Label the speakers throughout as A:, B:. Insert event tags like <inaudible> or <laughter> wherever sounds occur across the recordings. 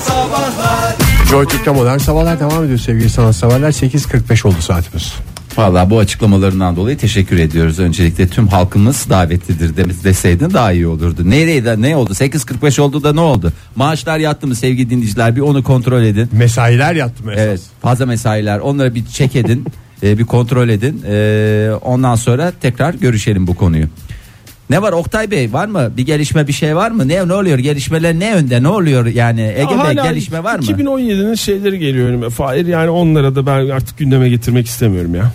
A: Sabahlar
B: Joy Türk'te modern sabahlar devam ediyor sevgili sanatseverler. 8.45 oldu saatimiz.
C: Valla bu açıklamalarından dolayı teşekkür ediyoruz. Öncelikle tüm halkımız davetlidir de- deseydin daha iyi olurdu. Nerede ne oldu? 8.45 oldu da ne oldu? Maaşlar yattı mı sevgili dinleyiciler? Bir onu kontrol edin.
B: Mesailer yattı mı esas?
C: Evet fazla mesailer onları bir çek edin. e, bir kontrol edin. E, ondan sonra tekrar görüşelim bu konuyu. Ne var Oktay Bey var mı bir gelişme bir şey var mı ne ne oluyor gelişmeler ne önde ne oluyor yani Ege Bey
D: Hala
C: gelişme var mı?
D: 2017'nin şeyleri geliyor önüme. Fahir yani onlara da ben artık gündeme getirmek istemiyorum ya.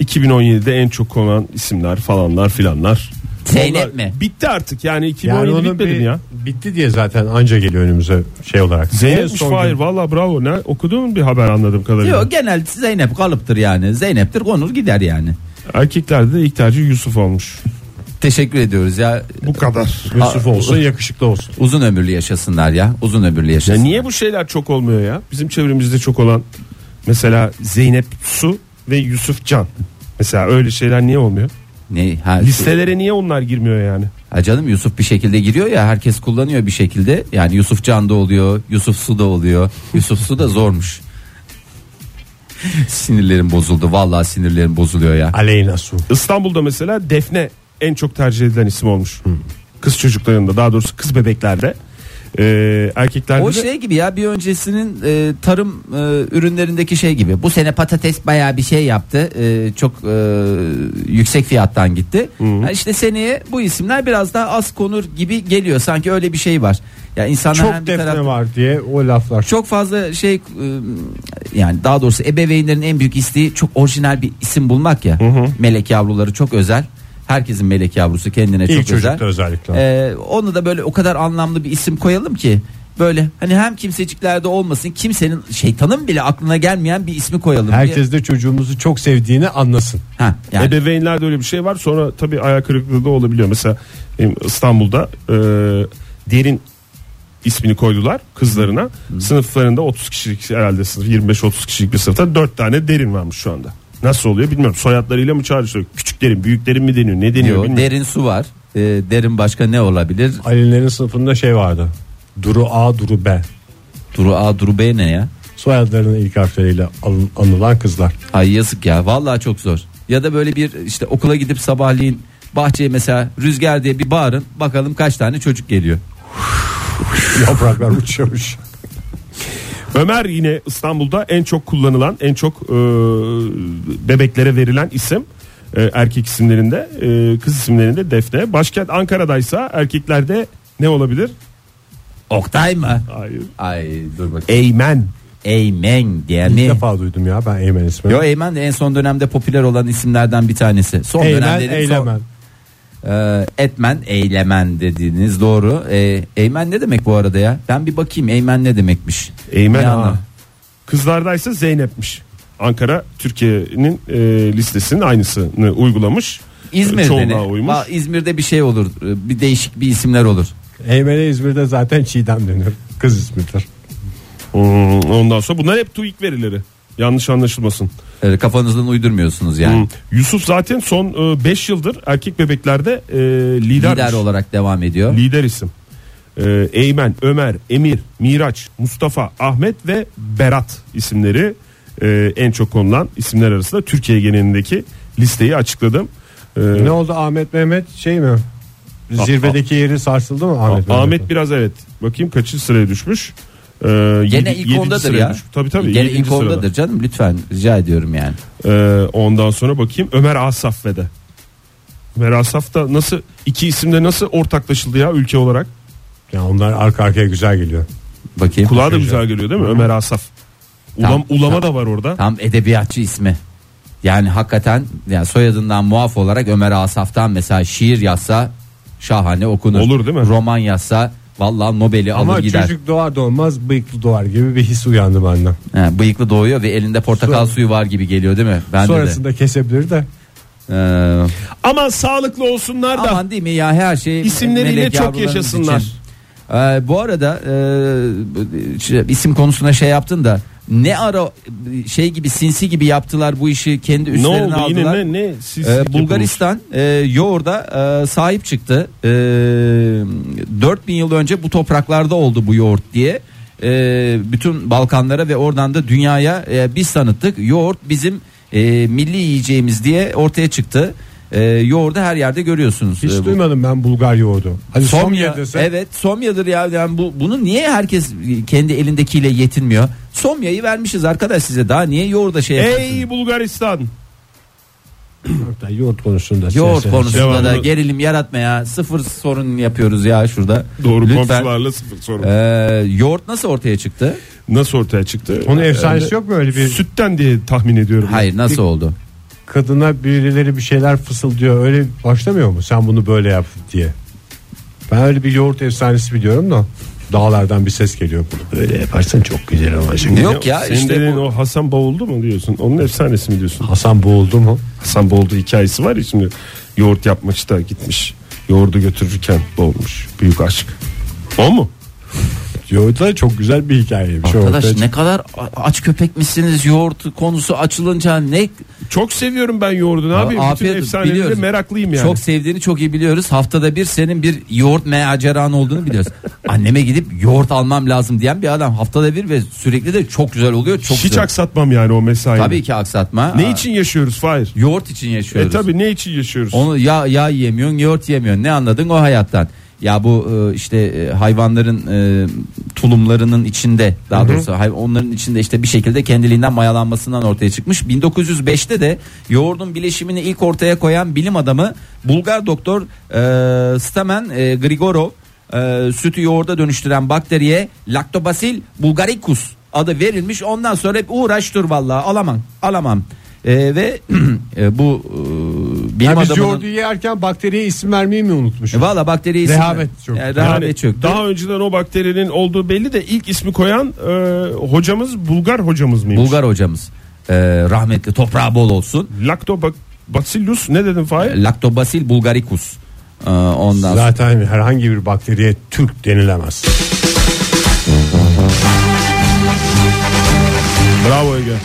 D: 2017'de en çok konan isimler falanlar filanlar.
C: Zeynep
D: Onlar-
C: mi?
D: Bitti artık yani 2017
B: Yani onun
D: bitmedi
B: bir,
D: mi ya?
B: bitti diye zaten anca geliyor önümüze şey olarak. En
D: Zeynep
B: son
D: Fahir
B: gün-
D: valla bravo ne okudun bir haber anladığım kadarıyla.
C: Yok genel Zeynep kalıptır yani Zeynep'tir konur gider yani.
D: Erkeklerde de ilk tercih Yusuf olmuş.
C: Teşekkür ediyoruz ya
D: Bu kadar.
B: Yusuf olsun yakışıklı olsun.
C: uzun ömürlü yaşasınlar ya uzun ömürlü
D: Ya
C: yaşasın.
D: niye bu şeyler çok olmuyor ya? Bizim çevremizde çok olan mesela Zeynep Su ve Yusuf Can. Mesela öyle şeyler niye olmuyor?
C: Ne? Ha, şu-
D: Listelere niye onlar girmiyor yani?
C: Ha canım Yusuf bir şekilde giriyor ya herkes kullanıyor bir şekilde. Yani Yusuf Can da oluyor, Yusuf Su da oluyor. Yusuf Su da zormuş. <laughs> sinirlerim bozuldu. Vallahi sinirlerim bozuluyor ya.
B: Aleyna Su.
D: İstanbul'da mesela Defne en çok tercih edilen isim olmuş. Kız çocuklarında daha doğrusu kız bebeklerde. Ee, erkeklerde
C: O
D: de
C: şey gibi ya bir öncesinin e, tarım e, ürünlerindeki şey gibi. Bu sene patates bayağı bir şey yaptı. E, çok e, yüksek fiyattan gitti. Ha işte seneye bu isimler biraz daha az konur gibi geliyor. Sanki öyle bir şey var. Ya insanlar hem
B: Çok
C: bir
B: defne
C: taraftan-
B: var diye o laflar.
C: Çok fazla şey e, yani daha doğrusu ebeveynlerin en büyük isteği çok orijinal bir isim bulmak ya. Melek yavruları çok özel. Herkesin melek yavrusu kendine
B: İlk
C: çok özel.
B: çocukta özellikle.
C: E, onu da böyle o kadar anlamlı bir isim koyalım ki böyle hani hem kimseciklerde olmasın kimsenin şeytanın bile aklına gelmeyen bir ismi koyalım. diye.
B: Herkes de çocuğumuzu çok sevdiğini anlasın.
C: ha, yani.
D: ebeveynlerde öyle bir şey var. Sonra tabii ayak kırıklığı da olabiliyor. Mesela benim İstanbul'da e, derin ismini koydular kızlarına. Sınıflarında 30 kişilik herhalde sınıf 25-30 kişilik bir sınıfta 4 tane derin varmış şu anda. Nasıl oluyor bilmiyorum. Soyadlarıyla mı çağrıştırıyor? Küçük derin, büyük derin mi deniyor? Ne deniyor
C: Yok,
D: bilmiyorum.
C: derin su var. E, derin başka ne olabilir?
B: Ali'lerin sınıfında şey vardı. Duru A, Duru B.
C: Duru A, Duru B ne ya?
B: Soyadlarının ilk harfleriyle an- anılan
C: <laughs>
B: kızlar.
C: Ay yazık ya vallahi çok zor. Ya da böyle bir işte okula gidip sabahleyin bahçeye mesela rüzgar diye bir bağırın bakalım kaç tane çocuk geliyor.
B: Yapraklar uçuyormuş.
D: Ömer yine İstanbul'da en çok kullanılan, en çok e, bebeklere verilen isim E, erkek isimlerinde, e, kız isimlerinde Defne. Başkent Ankara'daysa erkeklerde ne olabilir?
C: Oktay mı?
D: Hayır.
C: Ay dur bak.
D: Eymen.
C: E, Eymen diye
B: İlk
C: mi?
B: defa duydum ya ben Eymen ismini.
C: Yo Eymen de en son dönemde popüler olan isimlerden bir tanesi. Son
B: Eymen,
C: dönem dedim,
B: Eylemen.
C: son- Ee, etmen, eylemen dediğiniz doğru. Ee, eymen ne demek bu arada ya? Ben bir bakayım eymen ne demekmiş.
D: Eymen
C: Ne
D: ha.
C: anlamı?
D: Kızlardaysa Zeynep'miş. Ankara Türkiye'nin e, listesinin aynısını uygulamış.
C: İzmir'de
D: Çoğunluğa
C: ne?
D: uymuş.
C: Va- İzmir'de bir şey olur. e, Bir değişik bir isimler olur.
B: Eymen'e İzmir'de zaten Çiğdem deniyor. Kız ismidir.
D: Hmm, ondan sonra bunlar hep TÜİK verileri. Yanlış anlaşılmasın.
C: Ee, Kafanızdan uydurmuyorsunuz yani.
D: Hmm. Yusuf zaten son 5 yıldır erkek bebeklerde e, lider,
C: lider olarak devam ediyor.
D: lider isim. E, Eymen, Ömer, Emir, Miraç, Mustafa, Ahmet ve Berat isimleri e, en çok konulan isimler arasında Türkiye genelindeki listeyi açıkladım. E,
B: Ne oldu Ahmet Mehmet şey mi?
C: Ah,
B: Zirvedeki yeri sarsıldı mı Ahmet
D: Ahmet,
B: Mehmet'in?
D: biraz evet. Bakayım kaçıncı sıraya düşmüş. E,
C: Gene ilk ondadır ya.
D: Tabii tabii.
C: Gene
D: yedinci
C: ilk
D: sırada.
C: ondadır canım lütfen rica ediyorum yani.
D: E, ondan sonra bakayım Ömer Asaf ve de. Ömer Asaf da nasıl iki isimde nasıl ortaklaşıldı ya ülke olarak?
B: Ya onlar arka arkaya güzel geliyor.
C: Bakayım.
D: Kulağa da güzel geliyor değil mi? Ömer Asaf. Ulam,
C: Tamam,
D: ulama da var orada.
C: Tam edebiyatçı ismi. Yani hakikaten yani soyadından muaf olarak Ömer Asaf'tan mesela şiir yazsa şahane okunur.
D: Olur değil mi?
C: Roman yazsa vallahi Nobel'i
B: Ama
C: alır gider.
B: çocuk doğar doğmaz bıyıklı doğar gibi bir his uyandı benden.
C: He, bıyıklı doğuyor ve elinde portakal
B: Sonra-
C: suyu var gibi geliyor değil mi? Ben de.
B: Sonrasında kesebilir de.
C: Ee,
D: Aman sağlıklı olsunlar da.
C: Aman değil mi ya her şey
D: İsimleriyle
C: melek
D: çok
C: yavrularımız
D: yaşasınlar.
C: için. Ee, bu arada e, şey, isim konusuna şey yaptın da ne ara e, şey gibi sinsi gibi yaptılar bu işi kendi
D: ne
C: üstlerine
D: oldu
C: aldılar.
D: yine ne ne siz
C: Ee, Bulgaristan e, yoğurda e, sahip çıktı. E, 4000 yıl önce bu topraklarda oldu bu yoğurt diye. e, bütün Balkanlara ve oradan da dünyaya e, biz tanıttık. Yoğurt bizim e, milli yiyeceğimiz diye ortaya çıktı. E, yoğurdu her yerde görüyorsunuz.
B: Hiç
C: E, bu-
B: duymadım ben Bulgar yoğurdu. Hani Somya, desen
C: Evet Somya'dır ya. Yani bu, bunu niye herkes kendi elindekiyle yetinmiyor? Somya'yı vermişiz arkadaş size. Daha niye yoğurda şey yapıyorsunuz?
D: Ey Bulgaristan.
B: Hatta yoğurt konusunda.
C: Yoğurt
B: siyaset-
C: konusunda da
D: Şey, Devamlı-
C: gerilim yaratmaya sıfır sorun yapıyoruz ya şurada.
D: Doğru
C: Lütfen.
D: komşularla sıfır sorun.
C: E, yoğurt nasıl ortaya çıktı?
D: Nasıl ortaya çıktı? Ee,
B: Onun efsanesi yok mu öyle bir
D: Sütten diye tahmin ediyorum.
C: Hayır nasıl oldu?
B: kadına birileri bir şeyler fısıldıyor öyle başlamıyor mu sen bunu böyle yap diye. Ben öyle bir yoğurt efsanesi biliyorum da dağlardan bir ses geliyor. Böyle yaparsan çok güzel olacak.
D: Ne o-
C: Yok ya
D: senin
C: işte
D: dediğin
C: bu.
D: o Hasan Boğuldu mu diyorsun? Onun efsanesi mi diyorsun?
B: Hasan boğuldu mu?
D: Hasan Boğuldu hikayesi var ya şimdi yoğurt yapmak da gitmiş. Yoğurdu götürürken boğulmuş. Büyük aşk. O mu?
B: Yoğurt da çok güzel bir hikayeymiş.
C: Arkadaş
B: Ortaya
C: ne kadar a- aç köpek misiniz yoğurt konusu açılınca ne
D: Çok seviyorum ben yoğurdu. Ne yapayım? Bütün
C: afiyet olsun,
D: efsaneleri
C: biliyoruz.
D: meraklıyım yani.
C: Çok sevdiğini çok iyi biliyoruz. Haftada bir senin bir yoğurt maceran olduğunu
D: <laughs>
C: biliyoruz. Anneme gidip yoğurt almam lazım diyen bir adam haftada bir ve sürekli de çok güzel oluyor. Çok
D: Hiç
C: güzel.
D: aksatmam yani o mesai.
C: Tabii ki aksatma.
D: Ne
C: Aa,
D: için yaşıyoruz Fahir?
C: Yoğurt için
D: E
C: yaşıyoruz.
D: tabi ne için yaşıyoruz?
C: Onu ya ya yemiyorsun, yoğurt yemiyorsun. Ne anladın o hayattan? Ya bu e, işte e, hayvanların e, tulumlarının içinde daha doğrusu hay- onların içinde işte bir şekilde kendiliğinden mayalanmasından ortaya çıkmış. 1905'te de yoğurdun bileşimini ilk ortaya koyan bilim adamı Bulgar doktor e, Stamen e, Grigorov e, sütü yoğurda dönüştüren bakteriye Lactobacillus bulgaricus adı verilmiş. Ondan sonra hep uğraş dur vallahi alamam alamam. E, ve <clears throat> e, bu e, bilim
B: Yani biz
C: adamının
B: yoğurdu yerken bakteriye isim vermeyi mi unutmuşuz?
C: e, Valla bakteri isim.
B: Rehavet çöktü.
C: Yani
D: Yani
C: E, rehavet çöktü.
D: Daha önceden o bakterinin olduğu belli de ilk ismi koyan e, hocamız Bulgar hocamız mıymış?
C: Bulgar hocamız. e, rahmetli toprağı bol olsun.
D: Lactobacillus ne dedim Fahir?
C: Lactobacillus bulgaricus. E, ondan sonra.
B: Zaten herhangi bir bakteriye Türk denilemez.
D: Bravo Ege.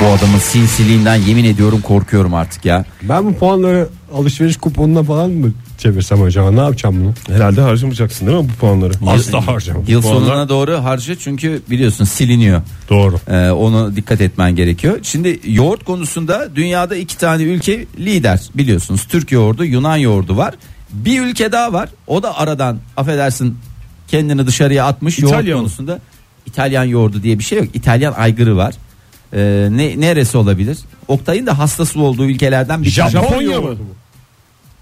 C: Bu adamın sinsiliğinden yemin ediyorum korkuyorum artık ya.
B: Ben bu puanları alışveriş kuponuna falan mı çevirsem acaba ne yapacağım bunu?
D: Herhalde harcamayacaksın değil mi bu puanları?
B: Az da harcamam.
C: Yıl
D: Bu
C: sonuna
D: arada-
C: doğru harcı çünkü biliyorsun siliniyor.
B: Doğru.
C: Ee, onu dikkat etmen gerekiyor. Şimdi yoğurt konusunda dünyada iki tane ülke lider biliyorsunuz. Türk yoğurdu, Yunan yoğurdu var. Bir ülke daha var. O da aradan affedersin kendini dışarıya atmış
D: İtalya
C: yoğurt
D: mı?
C: konusunda. İtalyan yoğurdu diye bir şey yok. İtalyan aygırı var. Ee, ne neresi olabilir? Oktay'ın da hastası olduğu ülkelerden bir tanesi.
D: Japonya mı?
B: yoğurdu mu?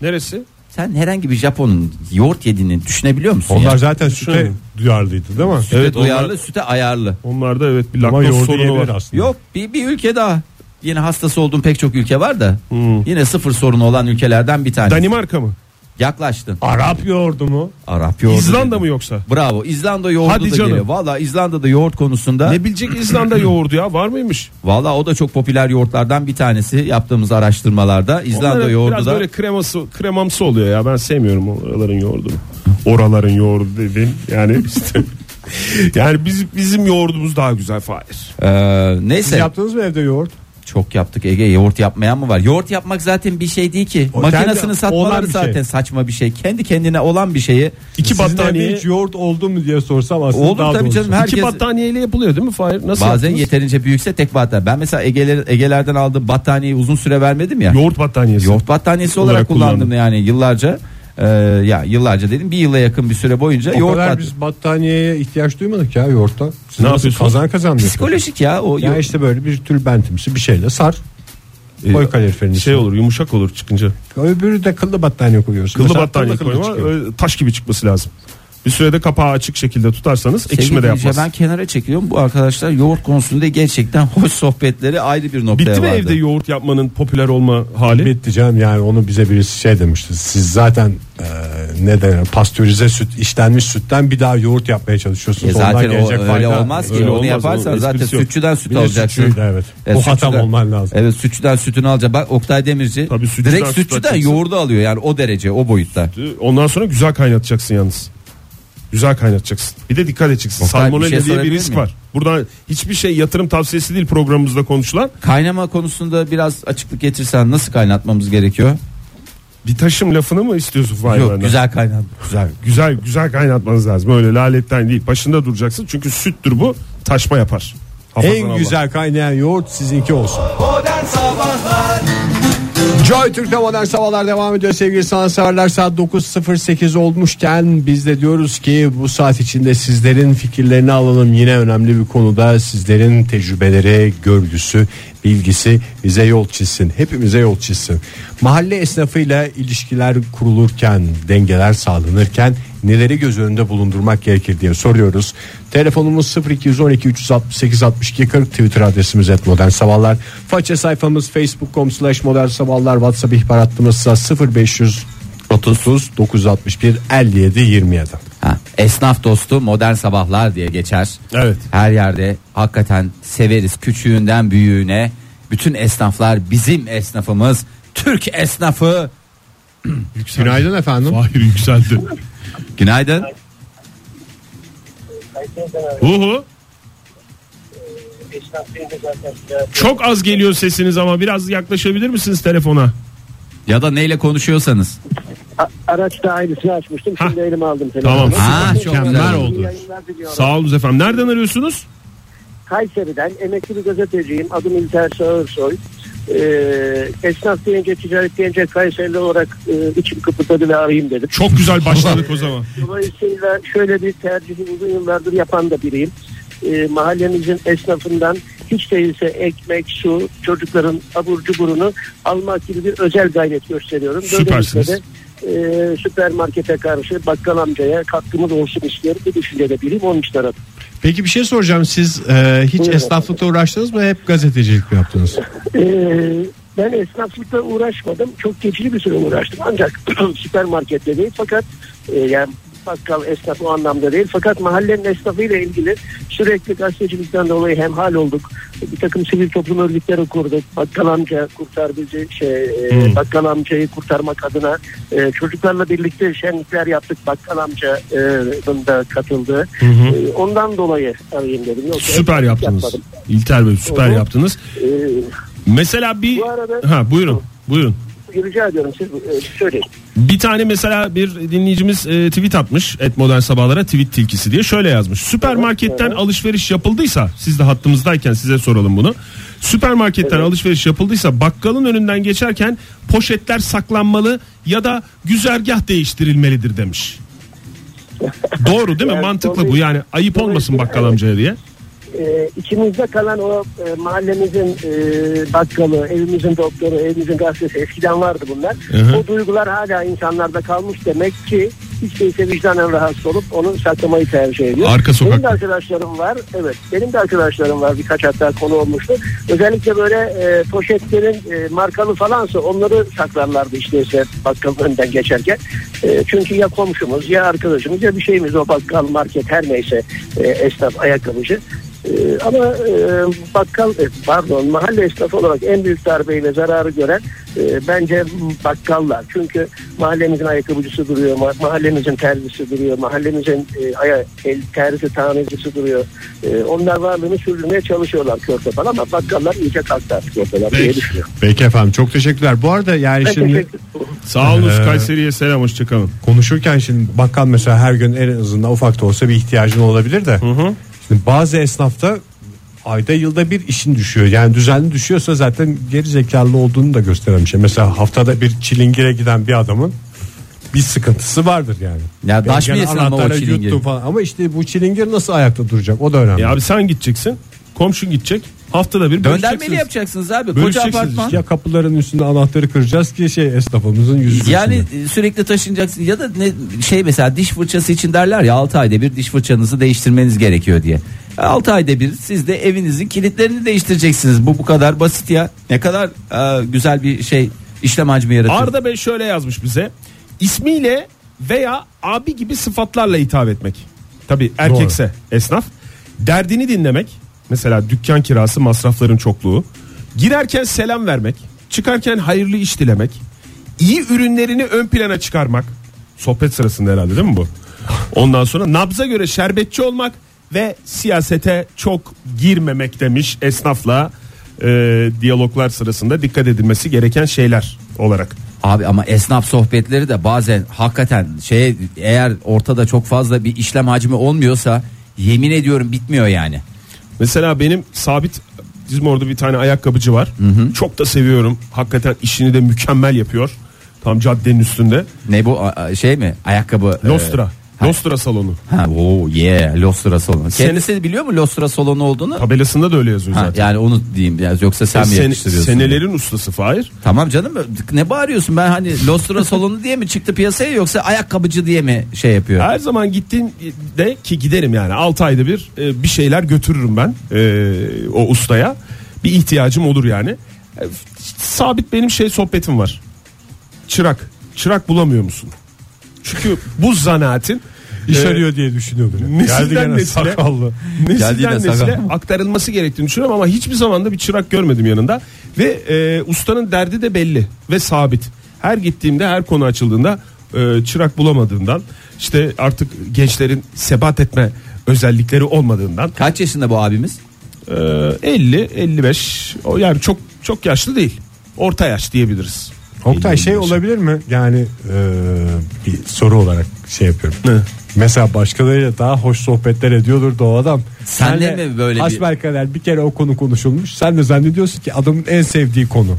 D: Neresi?
C: Sen herhangi bir Japon'un yoğurt yediğini düşünebiliyor musun?
B: Onlar
C: ya?
B: zaten süte duyarlıydı değil mi?
C: süte
D: Evet, onlar-
C: duyarlı, süte ayarlı.
D: Onlarda evet bir
B: Ama
D: laktoz
B: yoğurdu
D: sorunu
B: yiyebilir
D: var.
B: aslında. E,
C: Yok bir, bir ülke daha. Yine hastası olduğum pek çok ülke var da
D: Hmm.
C: yine sıfır sorunu olan ülkelerden bir tanesi.
D: Danimarka mı?
C: Yaklaştın.
B: Arap yoğurdu mu?
C: Arap yoğurdu.
D: İzlanda
C: dedi.
D: mı yoksa?
C: Bravo. İzlanda yoğurdu
D: Hadi
C: da
D: canım.
C: geliyor. Valla İzlanda'da yoğurt konusunda
D: Ne bilecek İzlanda yoğurdu ya var mıymış?
C: valla o da çok popüler yoğurtlardan bir tanesi yaptığımız araştırmalarda. İzlanda
D: Onların
C: yoğurdu
D: biraz
C: da
D: böyle kremamsı, kremamsı oluyor ya ben sevmiyorum oraların yoğurdunu. Oraların yoğurdu dedim yani işte. yani bizim bizim yoğurdumuz daha güzel Fahir.
C: Ee,
B: Siz
C: neyse
B: yaptınız mı evde yoğurt?
C: çok yaptık Ege yoğurt yapmayan mı var? Yoğurt yapmak zaten bir şey değil ki.
B: O
C: Makinesini
B: kendi-
C: satmaları
B: olan bir şey.
C: zattı saçma bir şey. Kendi kendine olan bir şeyi
D: İki
B: Sizin
D: battaniye-
B: evde hiç yoğurt oldu mu diye sorsam aslında
C: Olur
B: daha
C: tabii
B: doğrusu.
C: canım, Herkes-
D: İki battaniyeyle yapılıyor değil mi Fahir? Nasıl
C: bazen
D: yaptınız?
C: yeterince büyükse tek battaniye. Ben mesela Ege'ler, Ege'lerden aldığım battaniyeyi uzun süre vermedim ya.
D: Yoğurt battaniyesi.
C: Yoğurt battaniyesi olarak,
D: Olarak
C: kullandım
D: kullandım.
C: yani yıllarca. Ee, ya yıllarca dedim bir yıla yakın bir süre boyunca
B: O
C: yoğurt
B: kadar
C: bat-
B: biz battaniyeye ihtiyaç duymadık ya yoğurttan. Siz
D: Ne
B: nasıl
D: yapıyorsunuz?
B: Kazan kazan diyorsunuz.
C: Psikolojik ya o
B: Ya
C: yoğurt.
B: işte böyle bir tülbentimsi bir şeyle sar. Ee, Koy kaloriferin
D: şey
B: içine.
D: olur yumuşak olur çıkınca.
B: Öbürü de kıllı battaniye koyuyorsun.
D: Kıllı
B: Mesela
D: battaniye
B: kıllı kıllı
D: koyma
B: çıkıyor.
D: öyle taş gibi çıkması lazım. Bir sürede kapağı açık şekilde tutarsanız
C: Sevgili
D: ekşime de
C: dinleyiciler,
D: yapmaz.
C: ben kenara çekiliyorum. Bu arkadaşlar yoğurt konusunda gerçekten <laughs> hoş sohbetleri ayrı bir noktaya
D: Bitti mi
C: vardı.
D: evde yoğurt yapmanın popüler olma hali?
B: Bitti canım yani onu bize birisi şey demişti. Siz zaten e, ne denir pastörize süt işlenmiş sütten bir daha yoğurt yapmaya çalışıyorsunuz.
C: E zaten
B: Ondan
C: o
B: gelecek
C: öyle
B: fayda-
C: olmaz ki.
D: öyle
C: onu
D: olmaz,
C: yaparsan
D: onun
C: zaten
D: esprisi yok.
C: sütçüden süt
B: Bir de
C: alacaksın.
B: sütçüyü de evet.
C: E,
B: Bu
C: sütçüden-
B: hatam olman lazım.
C: Evet sütçüden sütünü alacak. Bak Oktay Demirci
D: Tabii sütçüden
C: direkt
D: süt
C: sütçüden
D: alacaksın.
C: yoğurdu alıyor yani o derece o boyutta.
D: Ondan sonra güzel kaynatacaksın yalnız. Güzel kaynatacaksın. Bir de dikkat edeceksin.
C: Oktay,
D: Salmonella
C: bir şey
D: diye bir
C: sorabilir
D: risk
C: miyim?
D: var. Buradan hiçbir şey yatırım tavsiyesi değil programımızda konuşulan.
C: Kaynama konusunda biraz açıklık getirsen nasıl kaynatmamız gerekiyor?
D: Bir taşım lafını mı istiyorsun Fahir
C: Yok
D: benden?
C: güzel kaynat. Güzel.
D: Güzel güzel kaynatmanız lazım. Öyle laletten değil. Başında duracaksın. Çünkü süttür bu. Taşma yapar. Hafazan
B: En
D: Allah.
B: güzel kaynayan yoğurt sizinki olsun. Joy Türk'te modern sabahlar devam ediyor sevgili sanatseverler saat 9.08 olmuşken biz de diyoruz ki bu saat içinde sizlerin fikirlerini alalım yine önemli bir konuda sizlerin tecrübeleri görgüsü bilgisi bize yol çizsin hepimize yol çizsin mahalle esnafıyla ilişkiler kurulurken dengeler sağlanırken neleri göz önünde bulundurmak gerekir diye soruyoruz telefonumuz 0212 368 62 40 twitter adresimiz et modern sabahlar faça sayfamız facebook.com slash modern sabahlar whatsapp ihbar hattımız 0500 30 961 57 27
C: Ha, esnaf dostu modern sabahlar diye geçer.
D: Evet.
C: Her yerde hakikaten severiz küçüğünden büyüğüne. Bütün esnaflar bizim esnafımız. Türk esnafı.
B: Günaydın efendim.
D: Fahir yükseldi.
C: Günaydın.
D: Uhu. Çok az geliyor sesiniz ama biraz yaklaşabilir misiniz telefona?
C: Ya da neyle konuşuyorsanız.
A: A- araçta aynısını açmıştım. Şimdi elime aldım telefonu.
D: Tamam.
C: Ha, çok
B: Mükemmel
C: güzel.
A: İyi
B: oldu.
A: yayınlar diliyorum.
D: Sağ olun efendim. Nereden arıyorsunuz?
A: Kayseri'den emekli bir gazeteciyim. Adım İlter Sağırsoy. Ee, esnaf deyince ticaret deyince Kayserili olarak e, içim kıpırdadı ve arayayım dedim.
D: Çok güzel başladık o zaman.
A: Dolayısıyla şöyle bir tercihi uzun yıllardır yapan da biriyim. Ee, mahallemizin esnafından hiç değilse ekmek, su, çocukların abur cuburunu almak gibi bir özel gayret gösteriyorum.
D: Süpersiniz.
A: Böylelikle de, e, süpermarkete karşı bakkal amcaya katkımız olsun istiyorum. Bir düşüncede biriyim. Onun için aradım.
B: Peki bir şey soracağım siz e, hiç
A: Buyurun.
B: esnaflıkla uğraştınız mı hep gazetecilik mi yaptınız?
A: Ee, ben esnaflıkla uğraşmadım. Çok geçici bir süre uğraştım. Ancak <clears throat> süpermarkette değil fakat e, yani bakkal esnaf o anlamda değil. Fakat mahallenin esnafıyla ilgili sürekli gazetecilikten dolayı hemhal olduk. Bir takım sivil toplum örgütleri kurduk. Bakkal amca kurtar bizi şey, e, bakkal amcayı kurtarmak adına e, çocuklarla birlikte şenlikler yaptık. Bakkal amcanın da katıldı. E, ondan dolayı arayayım dedim. Yoksa
D: Süper yaptınız.
A: yapmadım.
D: İlter Bey süper
A: Hı hı.
D: yaptınız.
A: E,
D: Mesela bir
A: Bu arada-
D: ha buyurun. Buyurun.
A: rica ediyorum siz e, söyleyin.
D: Bir tane mesela bir dinleyicimiz e, tweet atmış et modern sabahlara tweet tilkisi diye şöyle yazmış. Süpermarketten alışveriş yapıldıysa siz de hattımızdayken size soralım bunu. Süpermarketten alışveriş yapıldıysa bakkalın önünden geçerken poşetler saklanmalı ya da güzergah değiştirilmelidir demiş. Doğru değil mi?
A: Yani
D: Mantıklı
A: dolayı-
D: bu yani ayıp olmasın
A: dolayısıyla-
D: bakkal amcaya diye.
A: e, içimizde kalan o e, mahallemizin e, bakkalı, evimizin doktoru, evimizin gazetesi eskiden vardı bunlar.
D: hı.
A: O duygular hala insanlarda kalmış demek ki hiç değilse vicdanen rahatsız olup onu saklamayı tercih ediyor.
D: Arka
A: Benim de
D: sokakta.
A: arkadaşlarım var. Evet. Benim de arkadaşlarım var. Birkaç hatta konu olmuştu. Özellikle böyle e, poşetlerin e, markalı falansa onları saklarlardı işte ise bakkalın önünden geçerken. E, çünkü ya komşumuz ya arkadaşımız ya bir şeyimiz o bakkal market her neyse e, esnaf ayakkabıcı. E, ama e, bakkal e, pardon mahalle esnafı olarak en büyük darbeyle zararı gören e, bence bakkallar. Çünkü mahallemizin ayakkabıcısı duruyor, ma- mahallemizin terzisi duruyor, mahallemizin e, aya, el terzi tamircisi duruyor. E, onlar varlığını sürdürmeye çalışıyorlar körtepan ama bakkallar iyice kalktı artık ortadan diye düşünüyorum.
B: Peki efendim çok teşekkürler. Bu arada yani
A: Ben
B: şimdi
A: teşekkür
D: Sağ olun
B: Ee,
D: Kayseri'ye selam hoşçakalın.
B: konuşurken şimdi bakkal mesela her gün en azından ufak da olsa bir ihtiyacın olabilir de. Şimdi bazı esnafta ayda yılda bir işin düşüyor. Yani düzenli düşüyorsa zaten geri zekalı olduğunu da gösteren bir şey. Mesela haftada bir çilingire giden bir adamın bir sıkıntısı vardır yani.
C: Ya
B: Ben
C: daş mı
B: gene
C: yesin ama o
B: anahtarı
C: çilingir?
B: yuttum Falan. Ama işte bu çilingir nasıl ayakta duracak o da önemli.
D: E abi sen gideceksin. Komşun gidecek. Haftada bir
C: Döndermeli
D: bölüşeceksiniz.
C: yapacaksınız abi. Koca
D: Bölüşeceksiniz.
C: apartman.
B: Ya kapıların üstünde anahtarı kıracağız ki şey esnafımızın yüzü.
C: Yani
B: gülsün.
C: e, sürekli taşınacaksın ya da ne şey mesela diş fırçası için derler ya 6 ayda bir diş fırçanızı değiştirmeniz gerekiyor diye. 6 ayda bir siz de evinizin kilitlerini değiştireceksiniz. Bu bu kadar basit ya. Ne kadar e, güzel bir şey işlem hacmi yaratıyor.
D: Arda Bey şöyle yazmış bize. İsmiyle veya abi gibi sıfatlarla hitap etmek. Tabi erkekse esnaf. Derdini dinlemek. Mesela dükkan kirası masrafların çokluğu. Girerken selam vermek. Çıkarken hayırlı iş dilemek. iyi ürünlerini ön plana çıkarmak. Sohbet sırasında herhalde değil mi bu? Ondan sonra nabza göre şerbetçi olmak ve siyasete çok girmemek demiş esnafla e, diyaloglar sırasında dikkat edilmesi gereken şeyler olarak.
C: Abi ama esnaf sohbetleri de bazen hakikaten şey eğer ortada çok fazla bir işlem hacmi olmuyorsa yemin ediyorum bitmiyor yani.
D: Mesela benim sabit bizim orada bir tane ayakkabıcı var. Çok da seviyorum. Hakikaten işini de mükemmel yapıyor. Tam caddenin üstünde.
C: Ne bu a- a- şey mi? Ayakkabı. e,
D: Lostra. Lostra salonu.
C: Ha, oo, yeah, Lostra salonu. Kendisi de biliyor mu Lostra salonu olduğunu?
D: Tabelasında da öyle yazıyor
C: Ha,
D: zaten.
C: yani onu diyeyim biraz yoksa sen mi
D: Sen-
C: yakıştırıyorsun?
D: senelerin ustası Fahir.
C: Tamam canım ne bağırıyorsun ben hani Lostra salonu diye mi çıktı piyasaya yoksa ayakkabıcı diye mi şey yapıyor?
D: Her zaman gittiğimde ki giderim yani 6 ayda bir e, bir şeyler götürürüm ben e, o ustaya. Bir ihtiyacım olur yani. E, Sabit benim şey sohbetim var. Çırak. Çırak bulamıyor musun? Çünkü bu zanaatin
B: İş
D: e,
B: arıyor diye düşünüyor bile. Geldi
D: Nesilden
B: gene
D: nesile,
B: sakallı.
D: nesilden
C: yine
D: nesile
C: sakal.
D: aktarılması gerektiğini düşünüyorum ama hiçbir zaman da bir çırak görmedim yanında. Ve e, ustanın derdi de belli ve sabit. Her gittiğimde her konu açıldığında e, çırak bulamadığından işte artık gençlerin sebat etme özellikleri olmadığından
C: Kaç yaşında bu abimiz?
D: e, 50-55 o yani çok çok yaşlı değil. Orta yaş diyebiliriz.
B: Oktay şey olabilir mi? Yani e, bir soru olarak şey yapıyorum. Mesela başkalarıyla daha hoş sohbetler ediyordur da o adam.
C: Sen de mi böyle bir-
B: Hasbelkader bir kere o konu konuşulmuş. Sen de zannediyorsun ki adamın en sevdiği konu.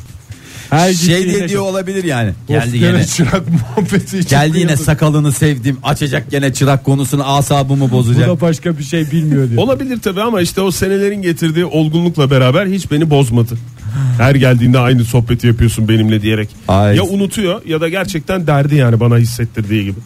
B: Her
C: Şey
B: gittiğinde-
C: diye diyor olabilir yani.
B: Of,
C: Geldi
B: gene
C: yine.
B: çırak <laughs> muhabbeti için
C: Geldi yine
B: kıyıldı.
C: sakalını sevdim. Açacak gene çırak konusunu asabımı
B: Bu
C: bozacak.
B: da başka bir şey bilmiyor diyor.
D: Olabilir tabii ama işte o senelerin getirdiği olgunlukla beraber hiç beni bozmadı. Her geldiğinde aynı sohbeti yapıyorsun benimle diyerek.
C: Ay.
D: Ya unutuyor ya da gerçekten derdi yani bana hissettirdiği gibi.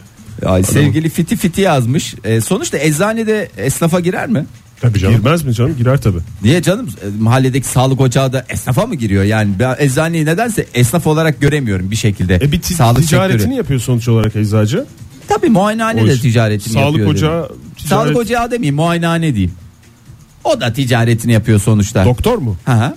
C: Ay, sevgili Fiti Fiti yazmış. E, sonuçta eczanede esnafa girer mi?
B: Tabii
D: Girmez mi canım? Girer tabii.
C: Niye canım E, mahalledeki sağlık ocağı da esnafa mı giriyor? Yani ben eczaneyi nedense esnaf olarak göremiyorum bir şekilde.
D: E bir ti-
C: sağlık
D: ticaretini
C: sektörü.
D: yapıyor sonuç olarak eczacı.
C: Tabii muayenehane
D: O
C: de
D: iş-
C: ticaretini
D: sağlık
C: yapıyor.
D: ocağı,
C: dedim.
D: ticaret-
C: Sağlık ocağı demeyeyim muayenehane diyeyim. O da ticaretini yapıyor sonuçta.
D: Doktor mu?
C: Hı hı.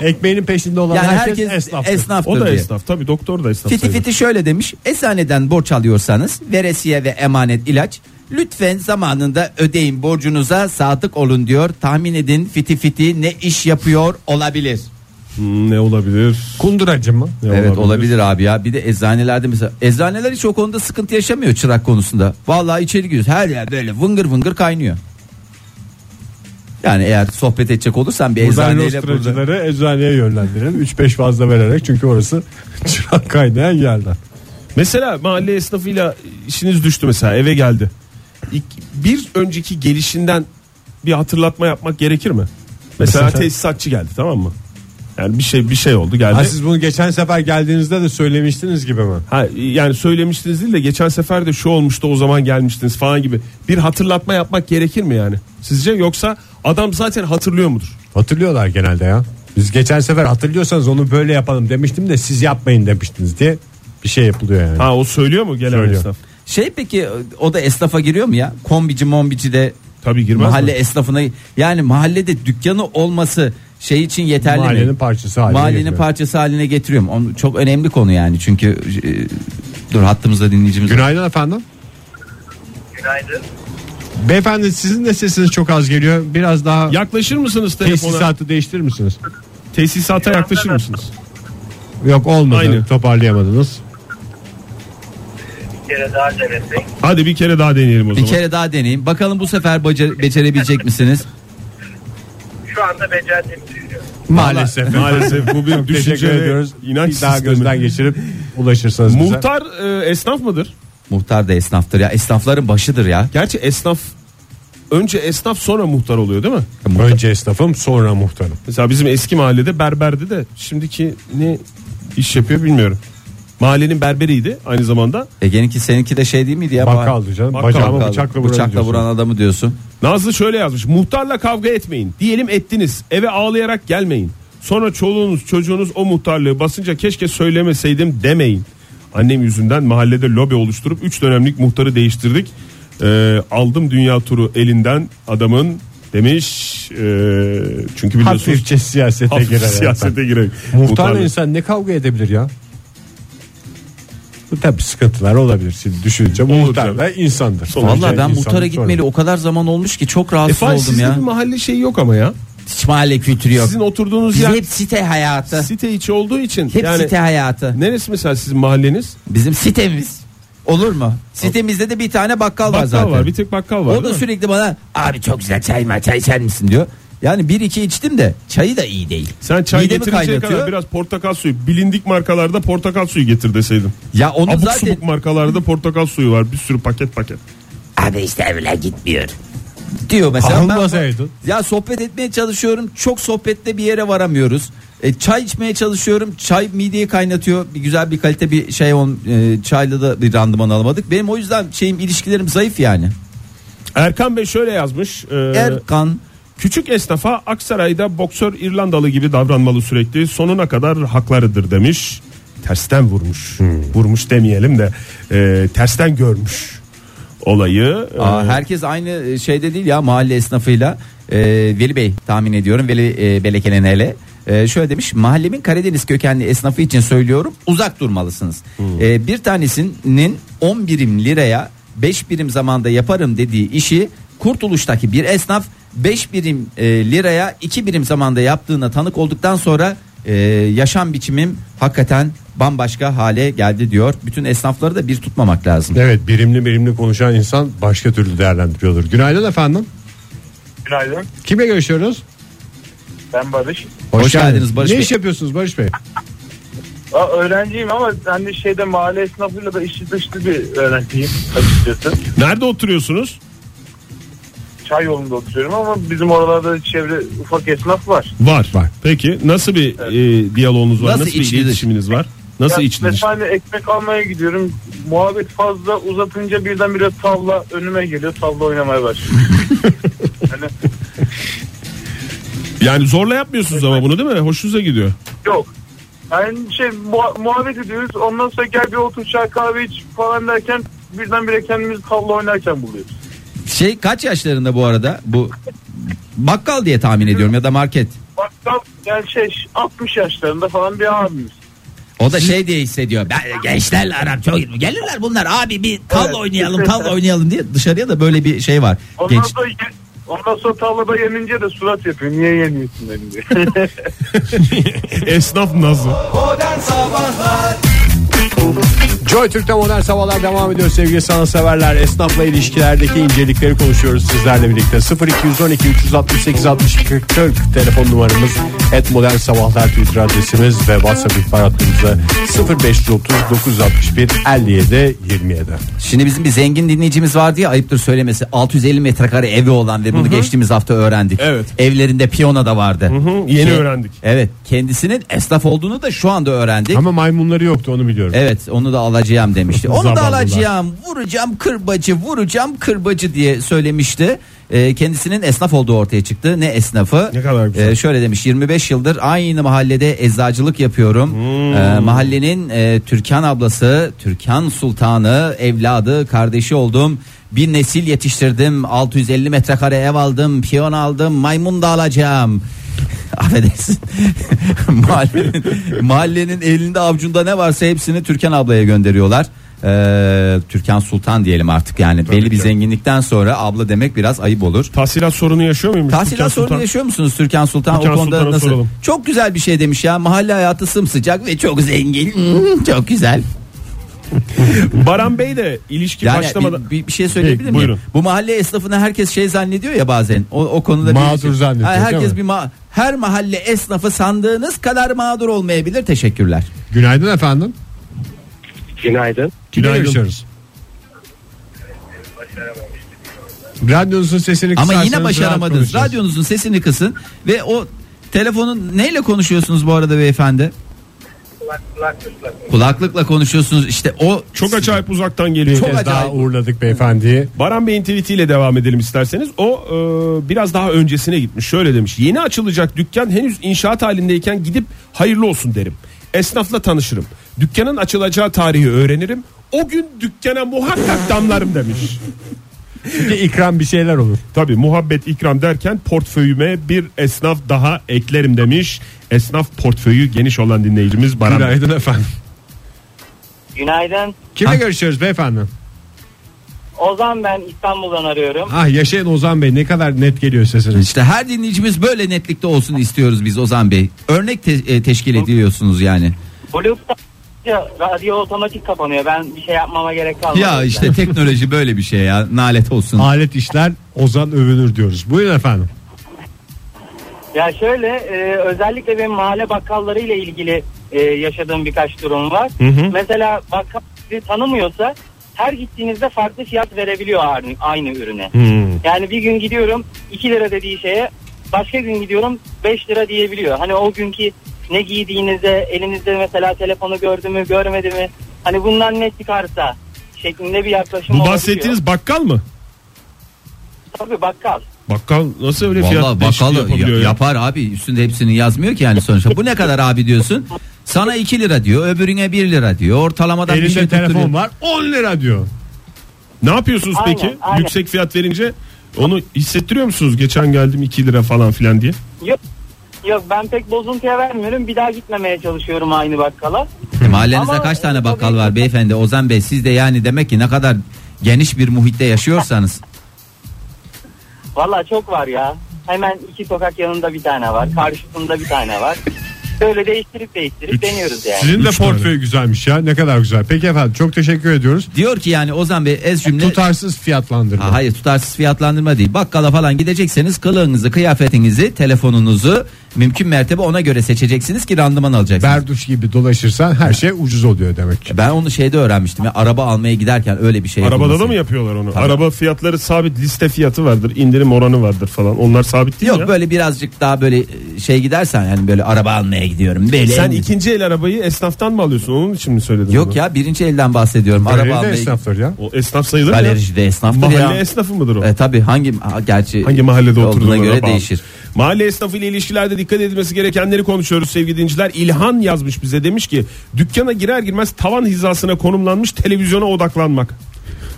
B: Ekmeğinin peşinde olan
C: Yani
B: herkes,
C: herkes
B: esnaftır.
C: esnaftır
D: O da
C: diye.
D: esnaf tabii doktor da esnaf.
C: Fiti
D: sayılır.
C: Fiti şöyle demiş. Eczaneden borç alıyorsanız veresiye ve emanet ilaç lütfen zamanında ödeyin borcunuza sadık olun diyor. Tahmin edin Fiti Fiti ne iş yapıyor olabilir.
D: Hmm, ne olabilir?
B: Kunduracı mı?
D: Ne
C: Evet olabilir abi ya. Bir de eczanelerde mesela eczaneler hiç o konuda sıkıntı yaşamıyor çırak konusunda. Vallahi içeri giriyoruz. Her yer böyle vıngır vıngır kaynıyor. Yani eğer sohbet edecek olursan bir
B: Buradan
C: eczaneyle burada.
B: rostracıları eczaneye yönlendirelim. 3-5 fazla vererek çünkü orası <laughs> çırak kaynayan yerler.
D: Mesela mahalle esnafıyla işiniz düştü mesela eve geldi. İlk, bir önceki gelişinden bir hatırlatma yapmak gerekir mi? Mesela
B: Mesela-
D: tesisatçı geldi tamam mı? Yani bir şey bir şey oldu geldi.
B: Ha, siz bunu geçen sefer geldiğinizde de söylemiştiniz gibi mi?
D: Ha, yani söylemiştiniz değil de geçen sefer de şu olmuştu o zaman gelmiştiniz falan gibi. Bir hatırlatma yapmak gerekir mi yani? Sizce yoksa adam zaten hatırlıyor mudur?
B: Hatırlıyorlar genelde ya. Biz geçen sefer hatırlıyorsanız onu böyle yapalım demiştim de siz yapmayın demiştiniz diye bir şey yapılıyor yani.
D: Ha o söylüyor mu gelen
B: Söylüyor.
D: esnaf?
C: Şey peki o da esnafa giriyor mu ya? Kombici mombici de
D: Tabii girmez
C: mahalle
D: mi?
C: esnafına yani mahallede dükkanı olması şey için yeterli mi?
B: Mahallenin parçası haline
C: Mahallenin
B: getiriyor.
C: parçası haline getiriyorum. Onu çok önemli konu yani çünkü e, dur hattımızda dinleyicimiz. var.
B: Günaydın efendim.
A: Günaydın.
B: Beyefendi sizin de sesiniz çok az geliyor. Biraz daha
D: Yaklaşır mısınız telefona?
B: tesisatı değiştirir misiniz?
D: Tesisata yaklaşır mısınız?
B: Yok olmadı.
D: Aynı.
B: Toparlayamadınız.
A: Bir kere daha denedik.
D: Hadi bir kere daha deneyelim o
C: Bir
D: zaman.
C: kere daha deneyin. Bakalım bu sefer baca- becerebilecek misiniz?
A: Şu anda becerdiğimi düşünüyorum.
B: <laughs> Maalesef.
D: Maalesef bu bir
B: Teşekkür
D: düşünce
B: ediyoruz.
D: ediyoruz. inanç
B: Bir daha
D: sistemi.
B: gözden geçirip ulaşırsanız bize.
D: Muhtar e, esnaf mıdır?
C: Muhtar da esnaftır ya. Esnafların başıdır ya.
D: Gerçi esnaf önce esnaf sonra muhtar oluyor değil mi?
B: Önce esnafım sonra muhtarım.
D: Mesela bizim eski mahallede berberdi de şimdiki ne iş yapıyor bilmiyorum. Mahallenin berberiydi aynı zamanda.
C: Ege'ninki seninki de şey değil miydi ya?
B: Bakkaldı canım.
D: Bakkal.
B: Bacağımı
C: Bakkaldı.
B: bıçakla vuran
C: Bıçakla vuran adamı diyorsun.
D: Nazlı şöyle yazmış. Muhtarla kavga etmeyin. Diyelim ettiniz. Eve ağlayarak gelmeyin. Sonra çoluğunuz çocuğunuz o muhtarlığı basınca keşke söylemeseydim demeyin. Annem yüzünden mahallede lobi oluşturup 3 dönemlik muhtarı değiştirdik. Ee, aldım dünya turu elinden adamın demiş. Ee, çünkü biliyorsunuz
B: Hafifçe siyasete
D: <laughs> hafif
B: girer.
D: siyasete girerek.
B: Muhtarla
D: Muhtarlık.
B: insan ne kavga edebilir ya? Bu tabii sıkıntılar olabilir. Şimdi düşününce muhtar
D: canım.
B: da insandır.
D: Sonuçta
B: Sonuçta
C: Vallahi ben
B: insanlık
C: muhtara gitmeli
B: sorunu.
C: o kadar zaman olmuş ki çok
D: E
C: rahatsız
D: Fahir,
C: oldum
D: sizde
C: ya.
D: bir mahalle şeyi şey yok ama ya.
C: Mahalle kültürü yok.
D: Sizin oturduğunuz
C: Biz
D: yer
C: hep site hayatı.
D: site içi olduğu için
C: hep
D: yani
C: site hayatı.
D: neresi mesela sizin mahalleniz?
C: Bizim sitemiz. Olur mu? Sitemizde de bir tane bakkal, var
D: Bakkal
C: zaten.
D: var, bir tek bakkal var.
C: o da
D: değil mi?
C: sürekli bana abi çok güzel çay var çay içer misin diyor. Yani bir iki içtim de çayı da iyi değil.
D: Sen çay
C: Midemi
D: getirinceye kadar biraz portakal suyu bilindik markalarda portakal suyu getir deseydin.
C: Ya onu
D: Abuk
C: zaten
D: subuk markalarda portakal suyu var bir sürü paket paket.
C: abi işte öyle gitmiyor. Diyor mesela. ben-
B: Almasaydın.
C: Ya sohbet etmeye çalışıyorum. Çok sohbette bir yere varamıyoruz. E, çay içmeye çalışıyorum. Çay mideyi kaynatıyor. Bir güzel bir kalite bir şey on e, çayla da bir randıman alamadık. Benim o yüzden şeyim ilişkilerim zayıf yani.
D: Erkan Bey şöyle yazmış. e,
C: Erkan
D: Küçük esnafa Aksaray'da boksör İrlandalı gibi davranmalı sürekli sonuna kadar haklarıdır demiş. Tersten vurmuş.
C: Hmm.
D: Vurmuş demeyelim de e, tersten görmüş olayı.
C: Aa,
D: E,
C: herkes aynı şeyde değil ya mahalle esnafıyla. Ee, Veli Bey tahmin ediyorum Veli e, Belekenenele. Ee, şöyle demiş mahallemin Karadeniz kökenli esnafı için söylüyorum uzak durmalısınız. Ee, bir tanesinin 10 birim liraya 5 birim zamanda yaparım dediği işi Kurtuluş'taki bir esnaf 5 birim e, liraya 2 birim zamanda yaptığına tanık olduktan sonra e, yaşam biçimim hakikaten bambaşka hale geldi diyor. Bütün esnafları da bir tutmamak lazım.
B: Evet birimli birimli konuşan insan başka türlü değerlendiriyordur. Günaydın efendim.
E: Günaydın.
B: Kimle görüşüyoruz?
E: Ben Barış.
C: Hoş geldiniz Barış
B: ne
C: Bey.
B: iş yapıyorsunuz Barış Bey?
E: Aa, öğrenciyim ama hani şeyde mahalle esnafıyla da işi dışlı bir öğrenciyim açıkçası.
D: nerede oturuyorsunuz?
E: Çay yolunda oturuyorum ama bizim oralarda çevre ufak esnaf var.
D: Var. Peki nasıl bir e, diyaloğunuz var?
C: Nasıl
D: Nasıl, bir
C: içli dış?
D: iletişiminiz var? Nasıl
E: Ya
D: içli dış?
E: Mesela hani ekmek almaya gidiyorum. Muhabbet fazla uzatınca birdenbire tavla önüme geliyor. Tavla oynamaya başlıyor. hani
D: Yani zorla yapmıyorsunuz ama bunu değil mi?
B: <laughs>
D: Hoşunuza gidiyor.
E: yok. Yani şey muha- muhabbet ediyoruz. Ondan sonra gel bir otur çay kahve iç falan derken birdenbire kendimizi tavla oynarken buluyoruz.
C: Şey kaç yaşlarında bu arada bu bakkal diye tahmin ediyorum ya da market.
E: Bakkal yani şey 60 yaşlarında falan bir abimiz.
C: O da şey diye hissediyor. Ben gençlerle aram çok gelirler bunlar abi bir tavla
E: Evet.
C: oynayalım tavla oynayalım diye dışarıya da böyle bir şey var.
E: Ondan
C: Genç.
E: sonra ye- Ondan sonra tavlada yenince de surat yapıyor. Niye yeniyorsun beni diye.
D: Esnaf nazı.
B: Joy Türk'te modern sabahlar devam ediyor sevgili sanatseverler. Esnafla ilişkilerdeki incelikleri konuşuyoruz sizlerle birlikte. 0212 368 62 40 telefon numaramız. Et modern sabahlar Twitter adresimiz ve WhatsApp ihbaratımızda 0530 961 57 27.
C: Şimdi bizim bir zengin dinleyicimiz vardı ya ayıptır söylemesi 650 metrekare evi olan ve bunu geçtiğimiz hafta öğrendik.
D: Evet.
C: Evlerinde piyano da vardı.
D: yeni
C: Ke-
D: öğrendik.
C: Evet kendisinin esnaf olduğunu da şu anda öğrendik.
B: Ama maymunları yoktu onu biliyorum.
C: Evet onu da alacağım demişti. Onu da
B: Zavallılar.
C: alacağım vuracağım kırbacı vuracağım kırbacı diye söylemişti. Ee, kendisinin esnaf olduğu ortaya çıktı. Ne esnafı?
D: Ne kadar güzel.
C: Ee, şöyle demiş 25 yıldır aynı mahallede eczacılık yapıyorum. Ee, mahallenin e, Türkan ablası, Türkan sultanı, evladı, kardeşi oldum. Bir nesil yetiştirdim. 650 metrekare ev aldım, piyon aldım, maymun da alacağım. <laughs> Affedersin. <laughs> mahallenin, mahallenin elinde avcunda ne varsa hepsini Türkan ablaya gönderiyorlar. Ee, Türkan Sultan diyelim artık yani belli bir zenginlikten sonra abla demek biraz ayıp olur.
D: Tahsilat sorunu yaşıyor muymuş? Türkan
C: Tahsilat sorunu
D: Sultan?
C: yaşıyor musunuz Türkan Sultan?
D: Türkan
C: o konuda
D: Sultan'a
C: nasıl?
D: soralım.
C: Çok güzel bir şey demiş ya. Mahalle hayatı sımsıcak ve çok zengin. Hmm, çok güzel.
D: Baran Bey de ilişki
C: Yani
D: başlamadan...
C: bir, bir, bir şey söyleyebilir
D: Peki,
C: miyim?
D: buyurun.
C: Bu mahalle esnafını herkes şey zannediyor ya bazen. O, o konuda bir-
B: Mağdur zannediyor,
C: Ha,
B: değil mi?
C: herkes bir ma- her mahalle esnafı sandığınız kadar mağdur olmayabilir. Teşekkürler.
B: Günaydın efendim.
A: Günaydın.
B: Kimle
D: Günaydın.
B: görüşüyoruz? Radyonuzun sesini
C: Ama
B: kısarsanız
C: yine
B: rahat
C: başaramadınız.
B: konuşuruz.
C: Radyonuzun sesini kısın ve o telefonun neyle konuşuyorsunuz bu arada beyefendi? Kulaklıkla konuşuyorsunuz. İşte o
D: Çok acayip uzaktan geliyor.
B: Bir
C: Çok
B: kez daha
C: acayip.
B: uğurladık beyefendiyi.
D: Baran Bey'in tweetiyle devam edelim isterseniz. O e, biraz daha öncesine gitmiş. Şöyle demiş. Yeni açılacak dükkan henüz inşaat halindeyken gidip hayırlı olsun derim. Esnafla tanışırım. Dükkanın açılacağı tarihi öğrenirim. O gün dükkana muhakkak damlarım demiş.
B: Çünkü ikram bir şeyler olur.
D: Tabi muhabbet ikram derken portföyüme bir esnaf daha eklerim demiş. Esnaf portföyü geniş olan dinleyicimiz Baran Bey.
B: Günaydın efendim.
F: Günaydın.
B: Kimle
C: Ha?
B: görüşüyoruz beyefendi?
F: Ozan ben İstanbul'dan arıyorum.
B: Ah yaşayın Ozan Bey ne kadar net geliyor sesiniz.
C: İşte her dinleyicimiz böyle netlikte olsun istiyoruz biz Ozan Bey. Örnek te- e, teşkil ediyorsunuz yani.
F: Bluetooth'ta radyo otomatik kapanıyor. Ben bir şey yapmama gerek kalmadı.
C: Ya işte teknoloji böyle bir şey ya. Nalet olsun.
B: Alet işler Ozan övünür diyoruz. Buyurun efendim.
F: Ya şöyle e, özellikle benim mahalle bakkallarıyla ilgili e, yaşadığım birkaç durum var. Mesela bakkal sizi tanımıyorsa her gittiğinizde farklı fiyat verebiliyor aynı, aynı ürüne. Yani bir gün gidiyorum 2 lira dediği şeye başka gün gidiyorum 5 lira diyebiliyor. Hani o günkü ne giydiğinize elinizde mesela telefonu gördü mü görmedi mi hani bundan ne çıkarsa şeklinde bir yaklaşım
D: Bu
F: olabiliyor.
D: bahsettiğiniz bakkal mı?
F: Tabii bakkal.
D: Bakkal nasıl öyle fiyat
C: Vallahi
D: değişikliği
C: bakalı
D: yapabiliyor
C: ya-
D: ya?
C: yapar abi üstünde hepsini yazmıyor ki yani sonuçta. Bu ne kadar abi diyorsun? Sana 2 lira diyor, öbürüne 1 lira diyor. Ortalamadan bir
B: Elinde
C: şey tutturuyor.
B: telefon var 10 lira diyor.
D: Ne yapıyorsunuz
F: Aynen,
D: peki?
F: aynen.
D: Yüksek fiyat verince onu hissettiriyor musunuz? Geçen geldim 2 lira falan filan diye.
F: Yok. Yok ben pek bozuntuya vermiyorum. Bir daha gitmemeye çalışıyorum aynı bakkala.
C: E, Mahallenizde
F: Ama-
C: kaç tane bakkal var beyefendi? Ozan Bey siz de yani demek ki ne kadar geniş bir muhitte yaşıyorsanız.
F: Valla çok var ya. Hemen iki sokak yanında bir tane var. Karşısında bir tane var. Böyle değiştirip değiştirip deniyoruz yani.
B: Sizin de
D: Üç tane.
B: portföy güzelmiş ya ne kadar güzel. Peki efendim çok teşekkür ediyoruz.
C: Diyor ki yani Ozan Bey ez cümle
B: Tutarsız fiyatlandırma.
C: Ha, hayır tutarsız fiyatlandırma değil. Bakkala falan gidecekseniz kılığınızı, kıyafetinizi, telefonunuzu mümkün mertebe ona göre seçeceksiniz ki randıman alacaksınız.
B: Berduş gibi dolaşırsan her şey ucuz oluyor demek ki.
C: Ben onu şeyde öğrenmiştim. Ya, araba almaya giderken öyle bir şey
D: Arabada da
C: yapılması.
D: mı yapıyorlar onu?
C: Tabii.
D: Araba fiyatları sabit liste fiyatı vardır. indirim oranı vardır falan. Onlar sabit değil
C: Yok
D: ya.
C: böyle birazcık daha böyle e, şey gidersen yani böyle araba almaya gidiyorum. Böyle
D: Sen ikinci el arabayı esnaftan mı alıyorsun? Onun için mi söyledin bunu?
C: Yok ya birinci elden bahsediyorum.
B: Böyle
C: araba
B: de
C: almaya.
B: esnaftır ya.
D: O esnaf sayılır mı? ya.
C: Galerici de esnaftır
D: Mahalle
C: ya.
D: esnafı mıdır o?
C: E, tabii hangi ha, gerçi
D: Hangi mahallede
C: olduğuna
D: oturduğuna
C: göre
D: bağlı.
C: değişir.
D: Mahalle esnafı ile ilişkilerde dikkat edilmesi gerekenleri konuşuyoruz sevgili dinciler. İlhan yazmış bize demiş ki dükkana girer girmez tavan hizasına konumlanmış televizyona odaklanmak.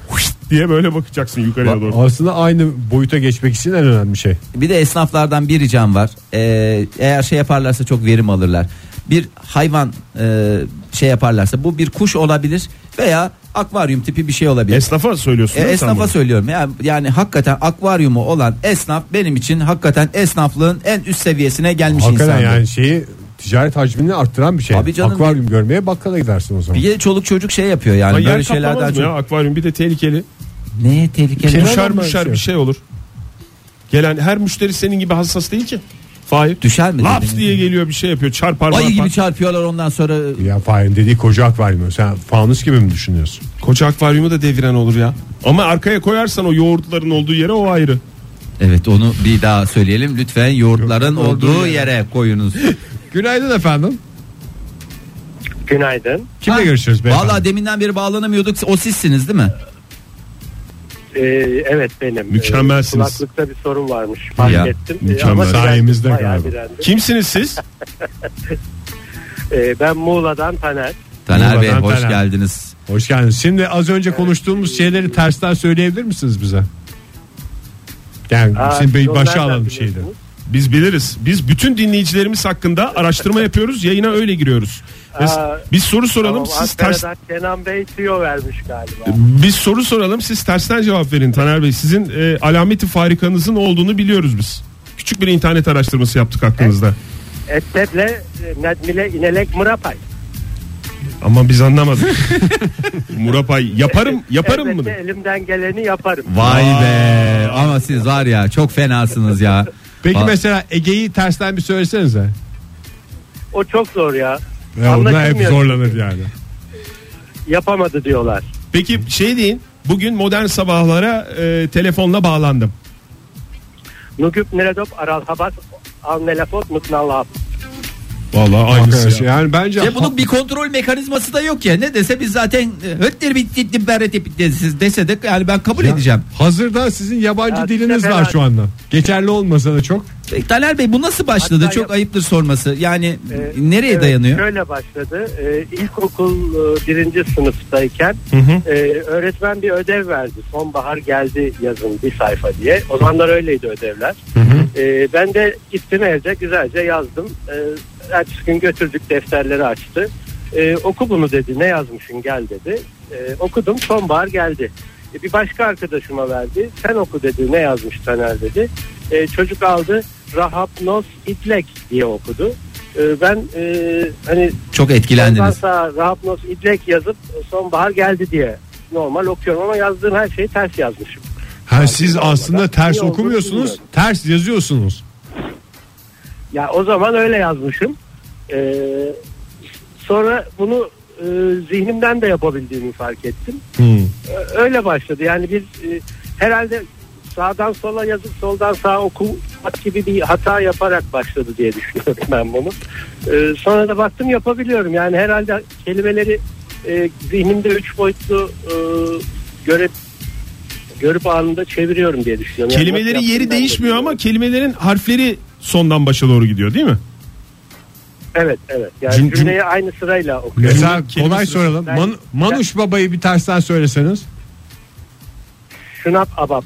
D: Huşt diye böyle bakacaksın yukarıya doğru.
B: Aslında aynı boyuta geçmek için en önemli şey.
C: Bir de esnaflardan bir ricam var. Ee, eğer şey yaparlarsa çok verim alırlar. Bir hayvan e, şey yaparlarsa bu bir kuş olabilir veya akvaryum tipi bir şey olabilir.
D: Esnafa söylüyorsun
C: E,
D: değil mi sen
C: esnafa
D: bunu?
C: söylüyorum yani, yani hakikaten akvaryumu olan esnaf benim için hakikaten esnaflığın en üst seviyesine gelmiş
B: Hakikaten
C: insandır.
B: yani şeyi ticaret hacmini arttıran bir şey.
C: Tabii canım.
B: Akvaryum görmeye bakkala gidersin o zaman.
C: Bir de çoluk çocuk şey yapıyor yani
D: Ay,
C: böyle
D: yer
C: şeylerden
D: kaplamaz mı
C: çok.
D: ya akvaryum bir de tehlikeli.
C: Ne tehlikeli.
B: Kenar-
D: Düşer
B: olmaz
D: müşer
B: ya.
D: bir şey olur. Gelen her müşteri senin gibi hassas değil ki. Fahir.
C: Düşer mi?
D: Laps
C: dedin?
D: diye geliyor bir şey yapıyor. Çarpar
C: Ayı
D: marpar.
C: gibi çarpıyorlar ondan sonra
B: Ya Fahir'in dediği koca akvaryum. Sen fanus gibi mi düşünüyorsun?
D: Koca akvaryumu da deviren olur ya. Ama arkaya koyarsan o yoğurtların olduğu yere o ayrı.
C: Evet onu bir daha söyleyelim lütfen yoğurtların olduğu yere koyunuz.
B: Günaydın efendim.
A: Günaydın.
B: Kimle
C: Ha,
B: görüşüyoruz beyefendi?
C: Valla deminden beri bağlanamıyorduk o sizsiniz değil mi?
A: Ee, evet benim.
D: Mükemmelsiniz.
A: Ee, kulaklıkta bir sorun varmış. Fark
C: Ya,
A: ettim. Ee,
B: mükemmel.
A: ama direndim,
B: Sayemizde
A: bayağı
B: galiba.
A: direndim.
D: Kimsiniz
A: <laughs>
D: siz?
A: Ee, ben Muğla'dan Taner.
C: Taner
B: Merhaba,
C: Bey
B: ben
C: hoş
B: Taner.
C: geldiniz.
B: Hoş geldiniz. Şimdi az önce konuştuğumuz şeyleri tersten söyleyebilir misiniz bize? Yani
A: Aa,
B: şimdi bir
A: siz onu
B: başa
A: nereden
B: alan bir şeydi.
A: biliyorsunuz?
D: Biz biliriz. Biz bütün dinleyicilerimiz hakkında araştırma yapıyoruz. Yayına öyle giriyoruz. Biz,
A: Aa,
D: biz soru soralım.
A: Tamam,
D: Siz ters
A: Ankara'dan Kenan Bey tüyo vermiş galiba.
D: biz soru soralım. Siz tersten cevap verin Taner Bey. Sizin e, alameti farikanızın olduğunu biliyoruz biz. Küçük bir internet araştırması yaptık hakkınızda.
A: Etteble Nedmile e, İnelek Mırapay.
D: Ama biz anlamadık. <laughs> Murapay yaparım yaparım mı?
A: Elbette elimden geleni yaparım.
C: Vay be ama siz var ya çok fenasınız ya.
B: Peki
C: Va-
B: mesela Ege'yi tersten bir söylesenize.
A: O çok zor ya.
B: Ya onlar hep
A: Anlaşılmıyor.
B: zorlanır yani.
A: Yapamadı diyorlar.
D: Peki şey deyin. Bugün modern sabahlara e, telefonla bağlandım.
A: Nugüp Neredop Aral Habat Alnelafot Mutnallahap.
D: Vallahi
B: Arkadaş, yani bence
C: Ya E, bunun bir kontrol mekanizması da yok ya. Ne dese biz zaten e, ötleri bitti bitti siz dese de yani ben kabul edeceğim.
B: hazırda sizin yabancı
A: Ya,
B: diliniz
A: işte
B: var
A: ben-
B: şu anda. Geçerli olmasa da çok.
C: Peki, E, Taner Bey bu nasıl başladı?
A: Hatta
C: çok
A: yap-
C: ayıptır sorması. Yani
A: Ee,
C: nereye
A: evet,
C: dayanıyor?
A: Şöyle başladı. Ee, ilkokul e, birinci sınıftayken e, öğretmen bir ödev verdi. Sonbahar geldi yazın bir sayfa diye. O zamanlar öyleydi ödevler. Ee, ben de gittim evde güzelce yazdım. Ee, ertesi gün götürdük defterleri açtı. Ee, oku bunu dedi ne yazmışsın gel dedi. Ee, okudum sonbahar geldi. E, Bir başka arkadaşıma verdi. Sen oku dedi. Ne yazmış Taner dedi. E, çocuk aldı. Rahapnos İdlek diye okudu. E, ben e, hani
C: Çok
A: ondan
C: etkilendiniz.
A: sonra Rahapnos İdlek yazıp sonbahar geldi diye normal okuyorum ama yazdığım her şeyi ters yazmışım.
B: Ha, siz aslında ters
A: İyi olduğunu
B: okumuyorsunuz,
A: bilmiyorum.
B: ters yazıyorsunuz.
A: Ya o zaman öyle yazmışım. Ee, sonra bunu e, zihnimden de yapabildiğimi fark ettim.
B: Hmm.
A: Ö- Öyle başladı. Yani biz e, herhalde sağdan sola yazıp soldan sağa okumak gibi bir hata yaparak başladı diye düşünüyorum ben bunu. Ee, sonra da baktım yapabiliyorum. Yani herhalde kelimeleri e, zihnimde üç boyutlu e, görüp görüp anında çeviriyorum diye düşünüyorum. Yani
D: Kelimelerin
A: nasıl
D: yeri
A: yaptığımdan da
D: değişmiyor ama
A: bilmiyorum.
D: kelimelerin harfleri sondan başa doğru gidiyor değil mi?
A: Evet evet. Yani
B: Cüm- cüm-
A: cümleyi aynı sırayla okuyorum.
B: Mesela
D: kelime
B: kolay
D: sırası.
B: soralım.
A: Ben-
B: Man- Manuş babayı bir tersten söyleseniz.
A: Şunap abap.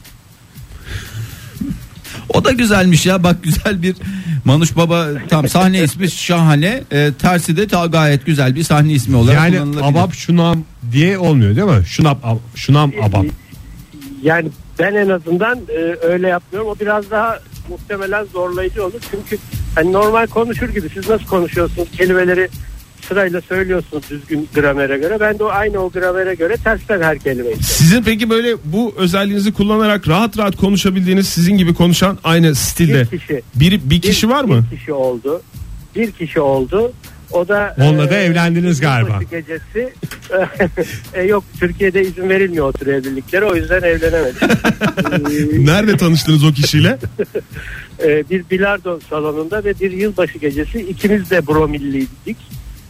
C: O da güzelmiş ya bak güzel bir Manuş Baba tam sahne ismi şahane Ee, tersi de ta gayet güzel bir sahne ismi olarak
B: Yani
C: kullanılabilir.
B: abap şunam diye olmuyor değil mi? Şunap ab- şunam abap.
A: Yani ben en azından e, öyle yapmıyorum. O biraz daha muhtemelen zorlayıcı olur. Çünkü hani normal konuşur gibi siz nasıl konuşuyorsunuz? Kelimeleri sırayla söylüyorsunuz düzgün gramere göre. Ben de o aynı o gramere göre tersten her kelimeyi söylüyorum.
D: Sizin peki böyle bu özelliğinizi kullanarak rahat rahat konuşabildiğiniz sizin gibi konuşan aynı stilde
A: Bir kişi.
D: bir, bir kişi var mı?
A: Bir kişi oldu. Bir kişi oldu. O da
B: Onunla da evlendiniz galiba.
A: yılbaşı Gecesi. <laughs> E, yok Türkiye'de izin verilmiyor o tür evliliklere. O yüzden evlenemedik. Ee,
D: Nerede tanıştınız o kişiyle?
A: Ee, bir bilardo salonunda ve bir yılbaşı gecesi ikimiz de bromilliydik.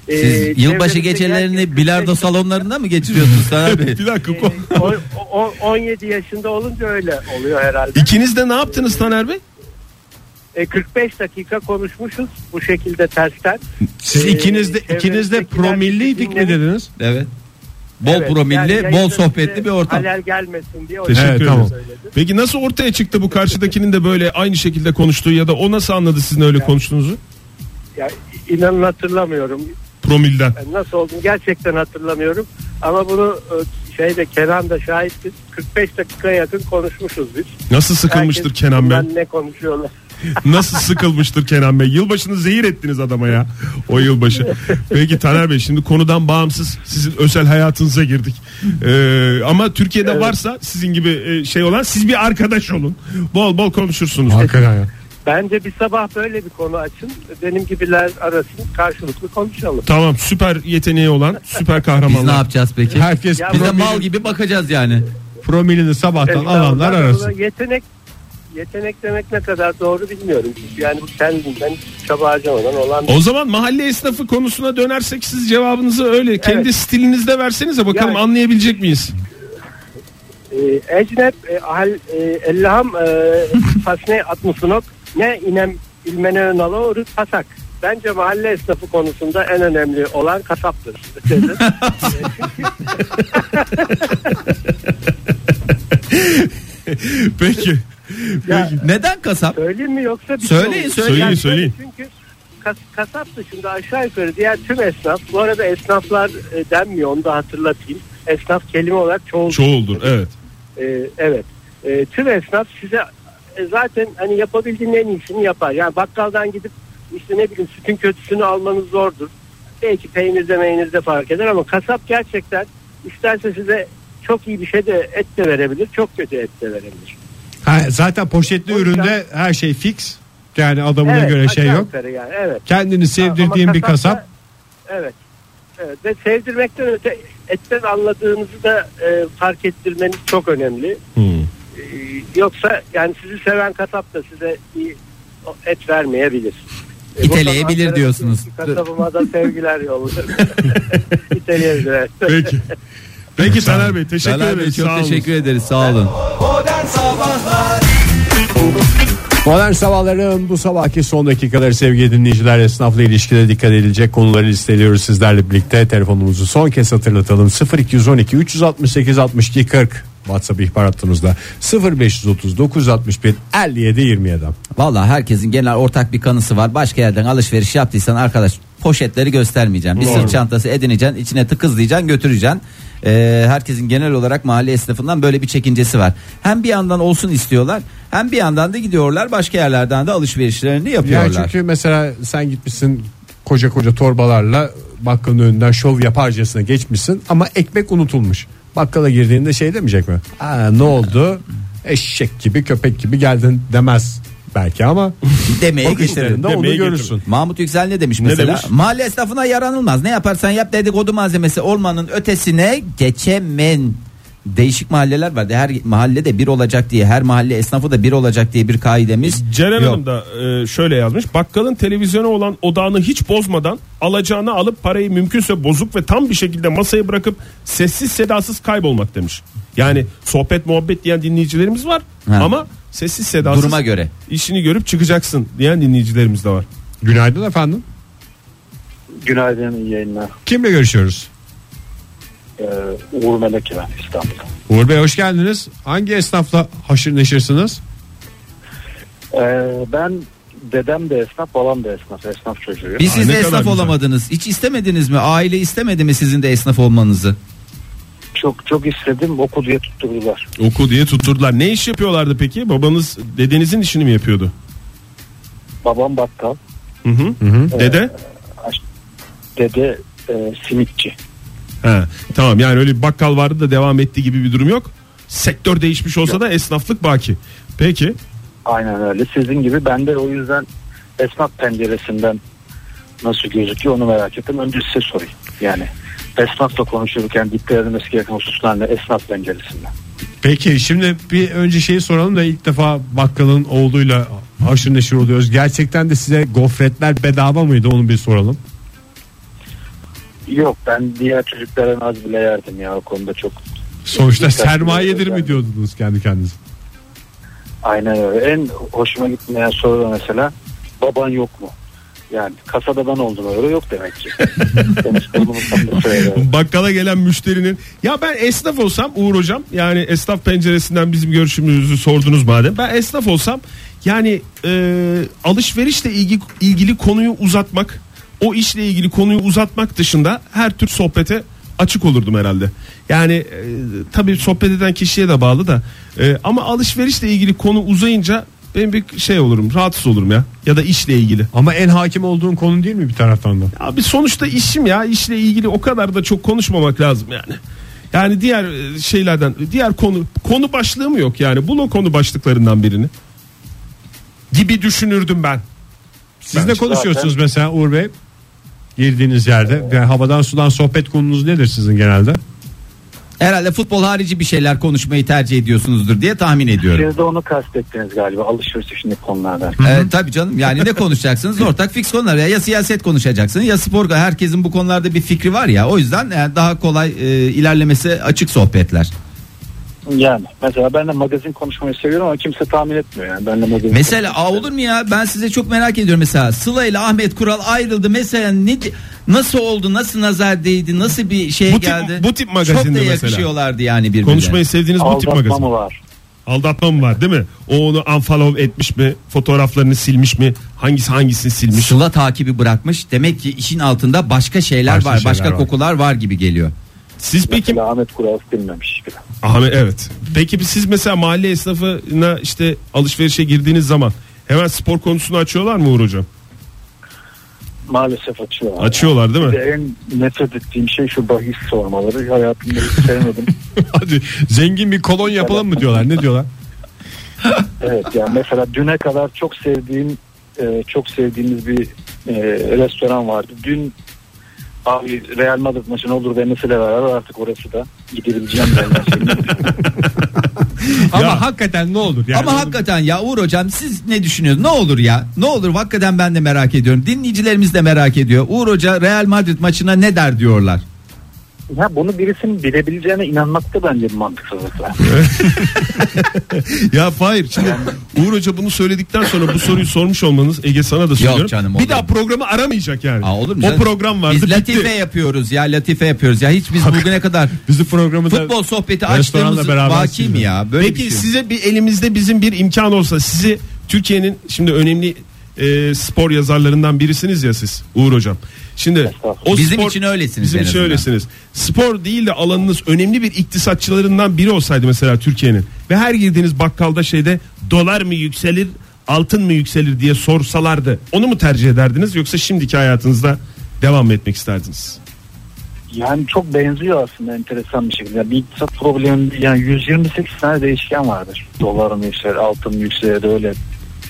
A: Ee,
C: Siz yılbaşı
A: çevremizde
C: gecelerini
A: herkes-
C: bilardo salonlarında
A: <laughs>
C: mı geçiriyorsunuz Taner Bey?
D: bir dakika.
A: Ee, o- o- 17 yaşında olunca öyle oluyor herhalde.
D: İkiniz de ne yaptınız Taner Bey?
A: Ee, 45 dakika konuşmuşuz bu şekilde tersten.
B: Siz
A: Ee,
B: ikiniz de ikiniz de
A: çevremizdekiler
B: promilliydik mi
A: dinlemiş.
B: dediniz?
C: Evet. Bol
A: Evet,
C: promilli,
A: yani
C: bol
A: yayında
C: sohbetli
A: bize
C: bir ortam.
A: Halel gelmesin diye o
D: Teşekkür
A: şekilde
B: Evet, tamam.
A: söyledi.
D: Peki nasıl ortaya çıktı bu karşıdakinin de böyle aynı şekilde konuştuğu ya da o nasıl anladı sizin öyle konuştuğunuzu?
A: Ya, inanın hatırlamıyorum.
D: Promilden.
A: Yani nasıl olduğunu gerçekten hatırlamıyorum. Ama bunu e, şeyde Kenan da şahit biz. 45 dakikaya yakın konuşmuşuz biz.
D: Nasıl sıkılmıştır
A: Herkes
D: Kenan Bey?
A: bundan Ne konuşuyorlar?
D: <laughs> Nasıl sıkılmıştır Kenan Bey? Yılbaşını zehir ettiniz adama ya. O yılbaşı. Peki Taner Bey şimdi konudan bağımsız sizin özel hayatınıza girdik. Ee, ama Türkiye'de varsa sizin gibi e, şey olan siz bir arkadaş olun. Bol bol konuşursunuz.
B: Hakikaten ya.
A: Bence bir sabah böyle bir konu açın. Benim gibiler arasın karşılıklı konuşalım.
D: Tamam süper yeteneği olan süper
C: Biz ne
D: kahramanlar.
C: yapacağız peki?
B: Herkes
A: Ya
C: Biz de
B: promilini-
C: mal gibi bakacağız yani.
B: promilini sabahtan alanlar
A: Estağfurullah, buna
B: arasın.
A: Yetenek yetenek demek ne kadar doğru bilmiyorum. Yani bu kendinden çaba harcamadan olan şey.
D: O zaman mahalle esnafı konusuna dönersek siz cevabınızı öyle kendi stilinizde versenize bakalım
A: Yani-
D: anlayabilecek miyiz?
A: e, ecnep e, ahal e, ellaham e, fasne atmusunok ne inem ilmene önalo rüt pasak. Bence mahalle esnafı konusunda en önemli olan kasaptır. dedi.
D: Peki.
A: Ya,
C: Neden kasap?
A: söyleyeyim mi yoksa bir
C: Söyleyin,
A: şey olur.
C: söyleyin,
A: Yani
D: söyleyin.
A: Çünkü kas, kasap dışında aşağı yukarı diğer tüm esnaf bu arada esnaflar e, denmiyor onu da hatırlatayım. Esnaf kelime olarak çoğul.
D: Çoğuldur evet.
A: E, evet. E, tüm esnaf size e, zaten hani yapabildiğinin en iyisini yapar. Yani bakkaldan gidip işte ne bileyim sütün kötüsünü almanız zordur. Belki peynirde meynirde fark eder ama kasap gerçekten isterse size çok iyi bir şey de et de verebilir, çok kötü et de verebilir.
B: Ha, zaten poşetli
A: O yüzden-
B: üründe her şey fix. Yani adamına
A: Evet,
B: göre şey
A: aşağı
B: yok.
A: yukarı Yani, evet.
B: Kendini sevdirdiğin
A: Ama
B: bir kasap
A: da- Evet. Evet ve sevdirmekten öte etten anladığınızı da e, fark ettirmeniz çok önemli. E, yoksa yani sizi seven kasap da size iyi et vermeyebilir. E,
C: İteleyebilir
A: buradan Ankara'daki
C: diyorsunuz.
A: Kasabıma da sevgiler yolluyorum. İteleyebilir.
D: Peki. Peki Taner Bey teşekkür
C: Taner Bey
D: ederiz.
C: çok
D: Sağ olun.
C: teşekkür ederiz. Sağ olun.
B: Modern Sabahların bu sabahki son dakikaları sevgili dinleyiciler esnafla ilişkide dikkat edilecek konuları listeliyoruz sizlerle birlikte. Telefonumuzu son kez hatırlatalım 0212 368 62 40 WhatsApp ihbar hattımızda 0530 961 57 27.
C: Valla herkesin genel ortak bir kanısı var. Başka yerden alışveriş yaptıysan arkadaş poşetleri göstermeyeceğim. Bir sırt çantası edineceksin, içine tıkızlayacaksın, götüreceksin. Ee, herkesin genel olarak mahalle esnafından böyle bir çekincesi var. Hem bir yandan olsun istiyorlar, hem bir yandan da gidiyorlar başka yerlerden de alışverişlerini
B: Yani
C: yapıyorlar.
B: çünkü mesela sen gitmişsin koca koca torbalarla bakkalın önünden şov yaparcasına geçmişsin ama ekmek unutulmuş. Bakkala girdiğinde şey demeyecek mi? Aa, ne oldu? Eşek gibi köpek gibi geldin demez belki ama
C: Demeye geçelim.
B: bakışlarında onu
D: Demeye
B: görürsün.
C: Mahmut Yüksel ne demiş mesela?
D: demiş?
C: Mahalle esnafına yaranılmaz. Ne yaparsan yap dedikodu malzemesi olmanın ötesine geçemen. Değişik mahalleler vardı. Her mahallede bir olacak diye, her mahalle esnafı da bir olacak diye bir kaidemiz.
D: Ceren
C: yok.
D: Hanım da e, şöyle yazmış. Bakkalın televizyona olan odağını hiç bozmadan alacağını alıp parayı mümkünse bozuk ve tam bir şekilde masaya bırakıp sessiz sedasız kaybolmak demiş. Yani sohbet muhabbet diyen dinleyicilerimiz var
C: Ha.
D: ama sessiz sedasız
C: Duruma göre.
D: işini görüp çıkacaksın diyen dinleyicilerimiz de var.
B: Günaydın efendim.
E: <laughs> Günaydın iyi yayınlar.
B: Kimle görüşüyoruz?
E: Ee, Uğur Melek ben İstanbul'da.
B: Uğur Bey hoş geldiniz. Hangi esnafla haşır neşirsiniz?
E: Ee, ben dedem de esnaf babam da esnaf esnaf çocuğuyum.
C: Biz
D: Aa,
C: siz
D: ne
C: de
D: kadar
C: esnaf
D: güzel.
C: olamadınız. Hiç istemediniz mi? Aile istemedi mi sizin de esnaf olmanızı?
E: Çok çok istedim oku diye tutturdular.
D: Oku diye tutturdular. Ne iş yapıyorlardı peki? Babanız dedenizin işini mi yapıyordu?
E: Babam bakkal
D: Hı hı. Dede?
E: dede e, simitçi.
D: He, tamam yani öyle bir bakkal vardı da devam etti gibi bir durum yok. Sektör değişmiş olsa da esnaflık baki. Peki.
E: Aynen öyle sizin gibi ben de o yüzden esnaf penceresinden nasıl gözüküyor onu merak ettim. Önce size sorayım yani esnafla konuşurken dikkat edilmesi gereken hususlar ne esnaf penceresinden.
B: Peki şimdi bir önce şeyi soralım da ilk defa bakkalın oğluyla haşır neşir oluyoruz. Gerçekten de size gofretler bedava mıydı onu bir soralım.
E: Yok ben diğer çocuklara az bile yerdim ya o konuda çok
B: Sonuçta
E: Dikkatli
B: sermayedir
E: olacağım.
B: mi diyordunuz kendi kendinize?
E: Aynen öyle. En hoşuma gitmeyen soru da mesela baban yok mu? Yani kasada ben oldum öyle yok demek ki. Demiş, bunu tam da söylüyorum.
D: Bakkala gelen müşterinin ya ben esnaf olsam Uğur hocam yani esnaf penceresinden bizim görüşümüzü sordunuz madem. Ben esnaf olsam yani e, alışverişle ilgi, ilgili konuyu uzatmak o işle ilgili konuyu uzatmak dışında her tür sohbete açık olurdum herhalde. Yani e, tabii sohbet eden kişiye de bağlı da e, ama alışverişle ilgili konu uzayınca ben bir şey olurum rahatsız olurum ya ya da işle ilgili.
B: Ama en hakim olduğun konu değil mi bir taraftan da?
D: Abi sonuçta işim ya işle ilgili o kadar da çok konuşmamak lazım yani. Yani diğer e, şeylerden diğer konu konu başlığı mı yok yani bulun konu başlıklarından birini gibi düşünürdüm ben.
B: Siz ne konuşuyorsunuz mesela Uğur Bey? Girdiğiniz yerde yani havadan sudan sohbet konunuz nedir sizin genelde?
C: Herhalde futbol harici bir şeyler konuşmayı tercih ediyorsunuzdur diye tahmin ediyorum.
E: Siz de onu kastettiniz galiba alışveriş şimdi konulardan.
C: Ee, tabii canım yani ne
D: <laughs>
C: konuşacaksınız ortak fix konular ya, ya siyaset konuşacaksın ya spor herkesin bu konularda bir fikri var ya o yüzden e, daha kolay e, ilerlemesi açık sohbetler.
E: Yani mesela ben de magazin konuşmayı seviyorum ama kimse tahmin etmiyor yani. Ben de magazin
C: Mesela aa olur mu ya ben size çok merak ediyorum mesela Sıla ile Ahmet Kural ayrıldı mesela ne nasıl oldu nasıl nazar değdi nasıl bir şey
D: Bu tip-
C: geldi
D: bu tip
C: çok
D: magazinde
C: da
D: mesela.
C: yakışıyorlardı yani birbirine.
D: Konuşmayı sevdiğiniz bu tip
E: aldatma
D: magazin.
E: mı var?
D: Aldatma mı var değil mi? O onu unfollow etmiş mi? Fotoğraflarını silmiş mi? Hangisi hangisini silmiş?
C: Sıla takibi bırakmış demek ki işin altında başka şeyler
B: Başka
C: var
B: şeyler
C: başka
B: var.
C: kokular var gibi geliyor.
D: Siz peki
E: Mesela Ahmet Kural dinlemiş bile.
D: Ahmet evet. Peki siz mesela mahalle esnafına işte alışverişe girdiğiniz zaman hemen spor konusunu açıyorlar mı Uğur hocam?
E: Maalesef açıyorlar.
D: Açıyorlar değil
E: Bir de
D: mi? <laughs>
E: en nefret ettiğim şey şu bahis sormaları. Hayatımda hiç sevmedim.
B: Hadi zengin bir kolon yapalım mı diyorlar ne diyorlar?
E: Evet yani mesela düne kadar çok sevdiğim e, çok sevdiğimiz bir e, restoran vardı. Dün abi Real Madrid maçı olur demesiyle beraber artık orası da gidebileceğim yerler. Şimdi
B: Ama hakikaten ne olur yani.
C: Ama hakikaten ya Uğur hocam siz ne düşünüyorsunuz? Ne olur ya? Ne olur? Hakikaten ben de merak ediyorum. Dinleyicilerimiz de merak ediyor. Uğur hoca Real Madrid maçına ne der diyorlar.
E: ya bunu birisinin bilebileceğine inanmak da bence bir mantıksızlıkla.
D: Ya hayır şimdi Uğur Hoca bunu söyledikten sonra bu soruyu sormuş olmanız Ege sana da söylüyorum.
C: canım, olur
D: bir
C: mu?
D: daha programı aramayacak yani.
C: Aa, olur mu?
D: o
C: canım?
D: program vardı
C: Biz latife
D: bitti.
C: yapıyoruz ya latife yapıyoruz ya. Hiç biz bugüne <laughs> kadar
B: Bizi programı da
C: futbol sohbeti
B: restoranla
C: açtığımız
B: beraber
C: vaki mi
B: sildim.
C: ya? Böyle
D: Peki
C: bir şey.
D: size bir elimizde bizim bir imkan olsa sizi Türkiye'nin şimdi önemli e, spor yazarlarından birisiniz ya siz Uğur hocam. Şimdi o
C: Bizim
D: spor-
C: için öylesiniz
D: Bizim
C: en
D: için
C: azından.
D: öylesiniz. Spor değil de alanınız önemli bir iktisatçılarından biri olsaydı mesela Türkiye'nin ve her girdiğiniz bakkalda şeyde dolar mı yükselir altın mı yükselir diye sorsalardı onu mu tercih ederdiniz yoksa şimdiki hayatınızda devam mı etmek isterdiniz?
E: Yani çok benziyor aslında enteresan bir şekilde. Yani bir iktisat problemi yani 128 tane değişken vardır. Dolarım yükselir, altın yükselir öyle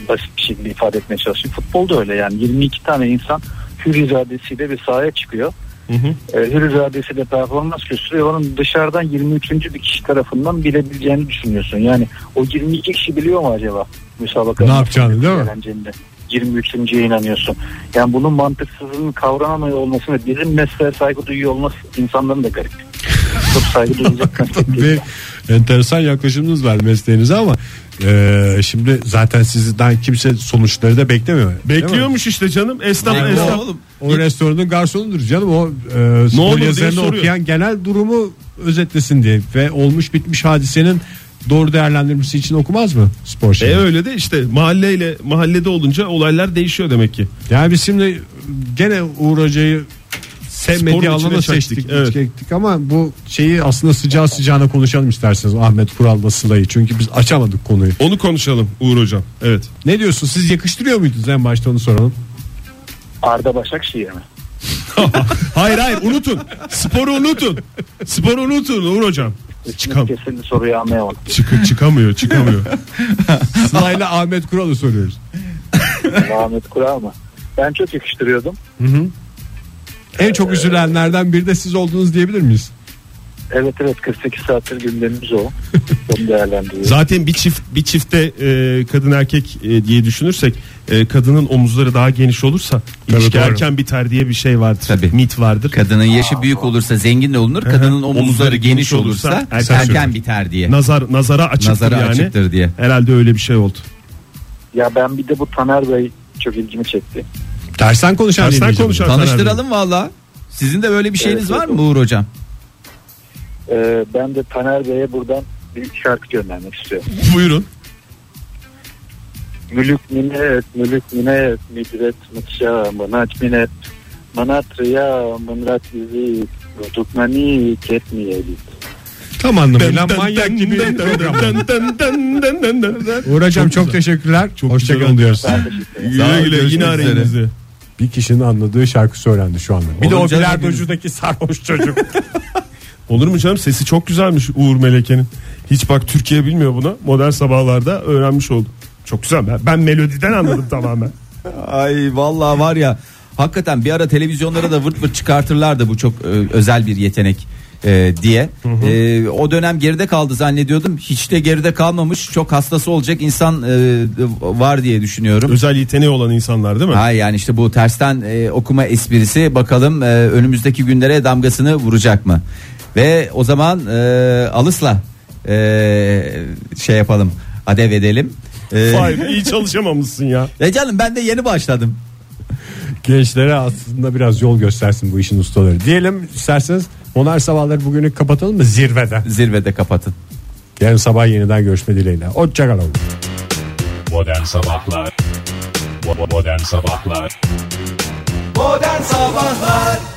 E: basit bir şekilde ifade etmeye çalışıyorum. Futbolda öyle yani 22 tane insan hür iradesiyle bir sahaya çıkıyor. Ee, hür iradesiyle performans gösteriyor. Onun dışarıdan 23. bir kişi tarafından bilebileceğini düşünüyorsun. Yani o 22 kişi biliyor mu acaba müsabaka?
B: Ne yapacağını, değil mi?
E: eğlencenin de 23.ye inanıyorsun. Yani bunun mantıksızlığının kavranamıyor olması ve bizim mesleğe saygı duyuyor olması insanların da garip. Çok saygı duyulacak meslek değil.
B: bir enteresan yaklaşımınız var mesleğinize ama e, şimdi zaten sizden kimse sonuçları da beklemiyor. değil mi?
D: Bekliyormuş işte canım esnaf
C: Yani
D: esnaf.
C: oğlum,
B: O restoranın garsonudur canım o e,
D: olur
B: spor
D: diye
B: yazarını
D: soruyor.
B: okuyan genel durumu özetlesin diye ve olmuş bitmiş hadisenin doğru değerlendirmesi için okumaz mı spor
D: E
B: şeyini?
D: öyle de işte mahalleyle mahallede olunca olaylar değişiyor demek ki.
B: Yani biz şimdi gene Uğur Hoca'yı sevmediği
D: Sporun içine
B: alana
D: çektik,
B: seçtik,
D: evet.
B: çektik ama bu şeyi aslında sıcağı sıcağına konuşalım isterseniz Ahmet Kural'la Sıla'yı çünkü biz açamadık konuyu.
D: Onu konuşalım Uğur hocam. Evet.
B: Ne diyorsun siz yakıştırıyor muydunuz en başta onu soralım.
E: Arda Başakşehir mi?
D: Hayır hayır unutun. Sporu unutun. Sporu unutun Uğur hocam. Çıkam
E: Kesin soruyu anlayamadım.
D: çık çıkamıyor, çıkamıyor.
B: Sıla'yla Ahmet Kural'ı soruyoruz.
E: Ahmet Kural mı? Ben çok yakıştırıyordum.
B: En çok üzülenlerden biri de siz oldunuz diyebilir miyiz?
E: Evet evet 48 saattir gündemimiz o. Onu
D: <laughs>
E: değerlendiriyoruz.
D: Zaten bir çift bir çifte e, kadın erkek e, diye düşünürsek e, kadının omuzları daha geniş olursa ilişki
B: doğru.
D: erken biter diye bir şey vardır.
C: Tabii.
D: Mit vardır.
C: Kadının yaşı büyük olursa zengin de olunur. Kadının omuzları geniş olursa
D: erken
C: erken
D: çöker.
C: biter diye.
D: Nazar nazara açıktır
C: Nazara
D: yani.
C: açıktır diye.
D: Herhalde öyle bir şey oldu.
E: Ya ben bir de bu Taner Bey çok ilgimi çekti.
B: Tersten konuşan
D: Tersten
B: dinleyicimiz.
D: konuşan.
C: Tanıştıralım valla. Sizin de böyle bir şeyiniz
E: Evet,
C: var
E: evet.
C: mı Uğur hocam?
E: Ee, ben de Taner Bey'e buradan bir şarkı göndermek istiyorum.
D: Buyurun.
E: Mülük minet, mülük minet, midret mutşa, manaç minet, manat riya, mınrat yüzü, tutmani ketmiyeli.
B: Tam anlamıyla manyak gibi bir program. Uğur Hocam çok teşekkürler.
D: güzel
B: Hoşçakalın diyoruz.
D: Güle güle yine arayın bizi.
B: Bir kişinin anladığı şarkısı öğrendi şu anda. Bir de
C: Oğlum
B: o
C: canım
B: bilardocudaki sarhoş çocuk.
D: <laughs> Olur mu canım sesi çok güzelmiş Uğur Meleke'nin. Hiç bak Türkiye bilmiyor bunu. Modern sabahlarda öğrenmiş oldum. Çok güzel. Ben, ben
B: <laughs>
D: melodiden anladım tamamen.
C: Ay vallahi var ya hakikaten bir ara televizyonlara da vırt vırt çıkartırlardı bu çok e, özel bir yetenek e, diye. E, o dönem geride kaldı zannediyordum. Hiç de geride kalmamış. Çok hastası olacak insan e, var diye düşünüyorum.
D: Özel yeteneği olan insanlar değil mi?
C: Ha yani işte bu tersten e, okuma esprisi bakalım e, önümüzdeki günlere damgasını vuracak mı? Ve o zaman e, Alıs'la e, şey yapalım. Adev edelim. E,
D: Hayır iyi çalışamamışsın ya.
C: e canım ben de yeni başladım.
B: Gençlere aslında biraz yol göstersin bu işin ustaları. Diyelim isterseniz Modern Sabahları bugünü kapatalım mı zirvede?
C: Zirvede kapatın.
B: Yarın sabah yeniden görüşme dileğiyle. Hoşçakalın.
G: Modern Sabahlar Bo- Modern Sabahlar
C: Modern Sabahlar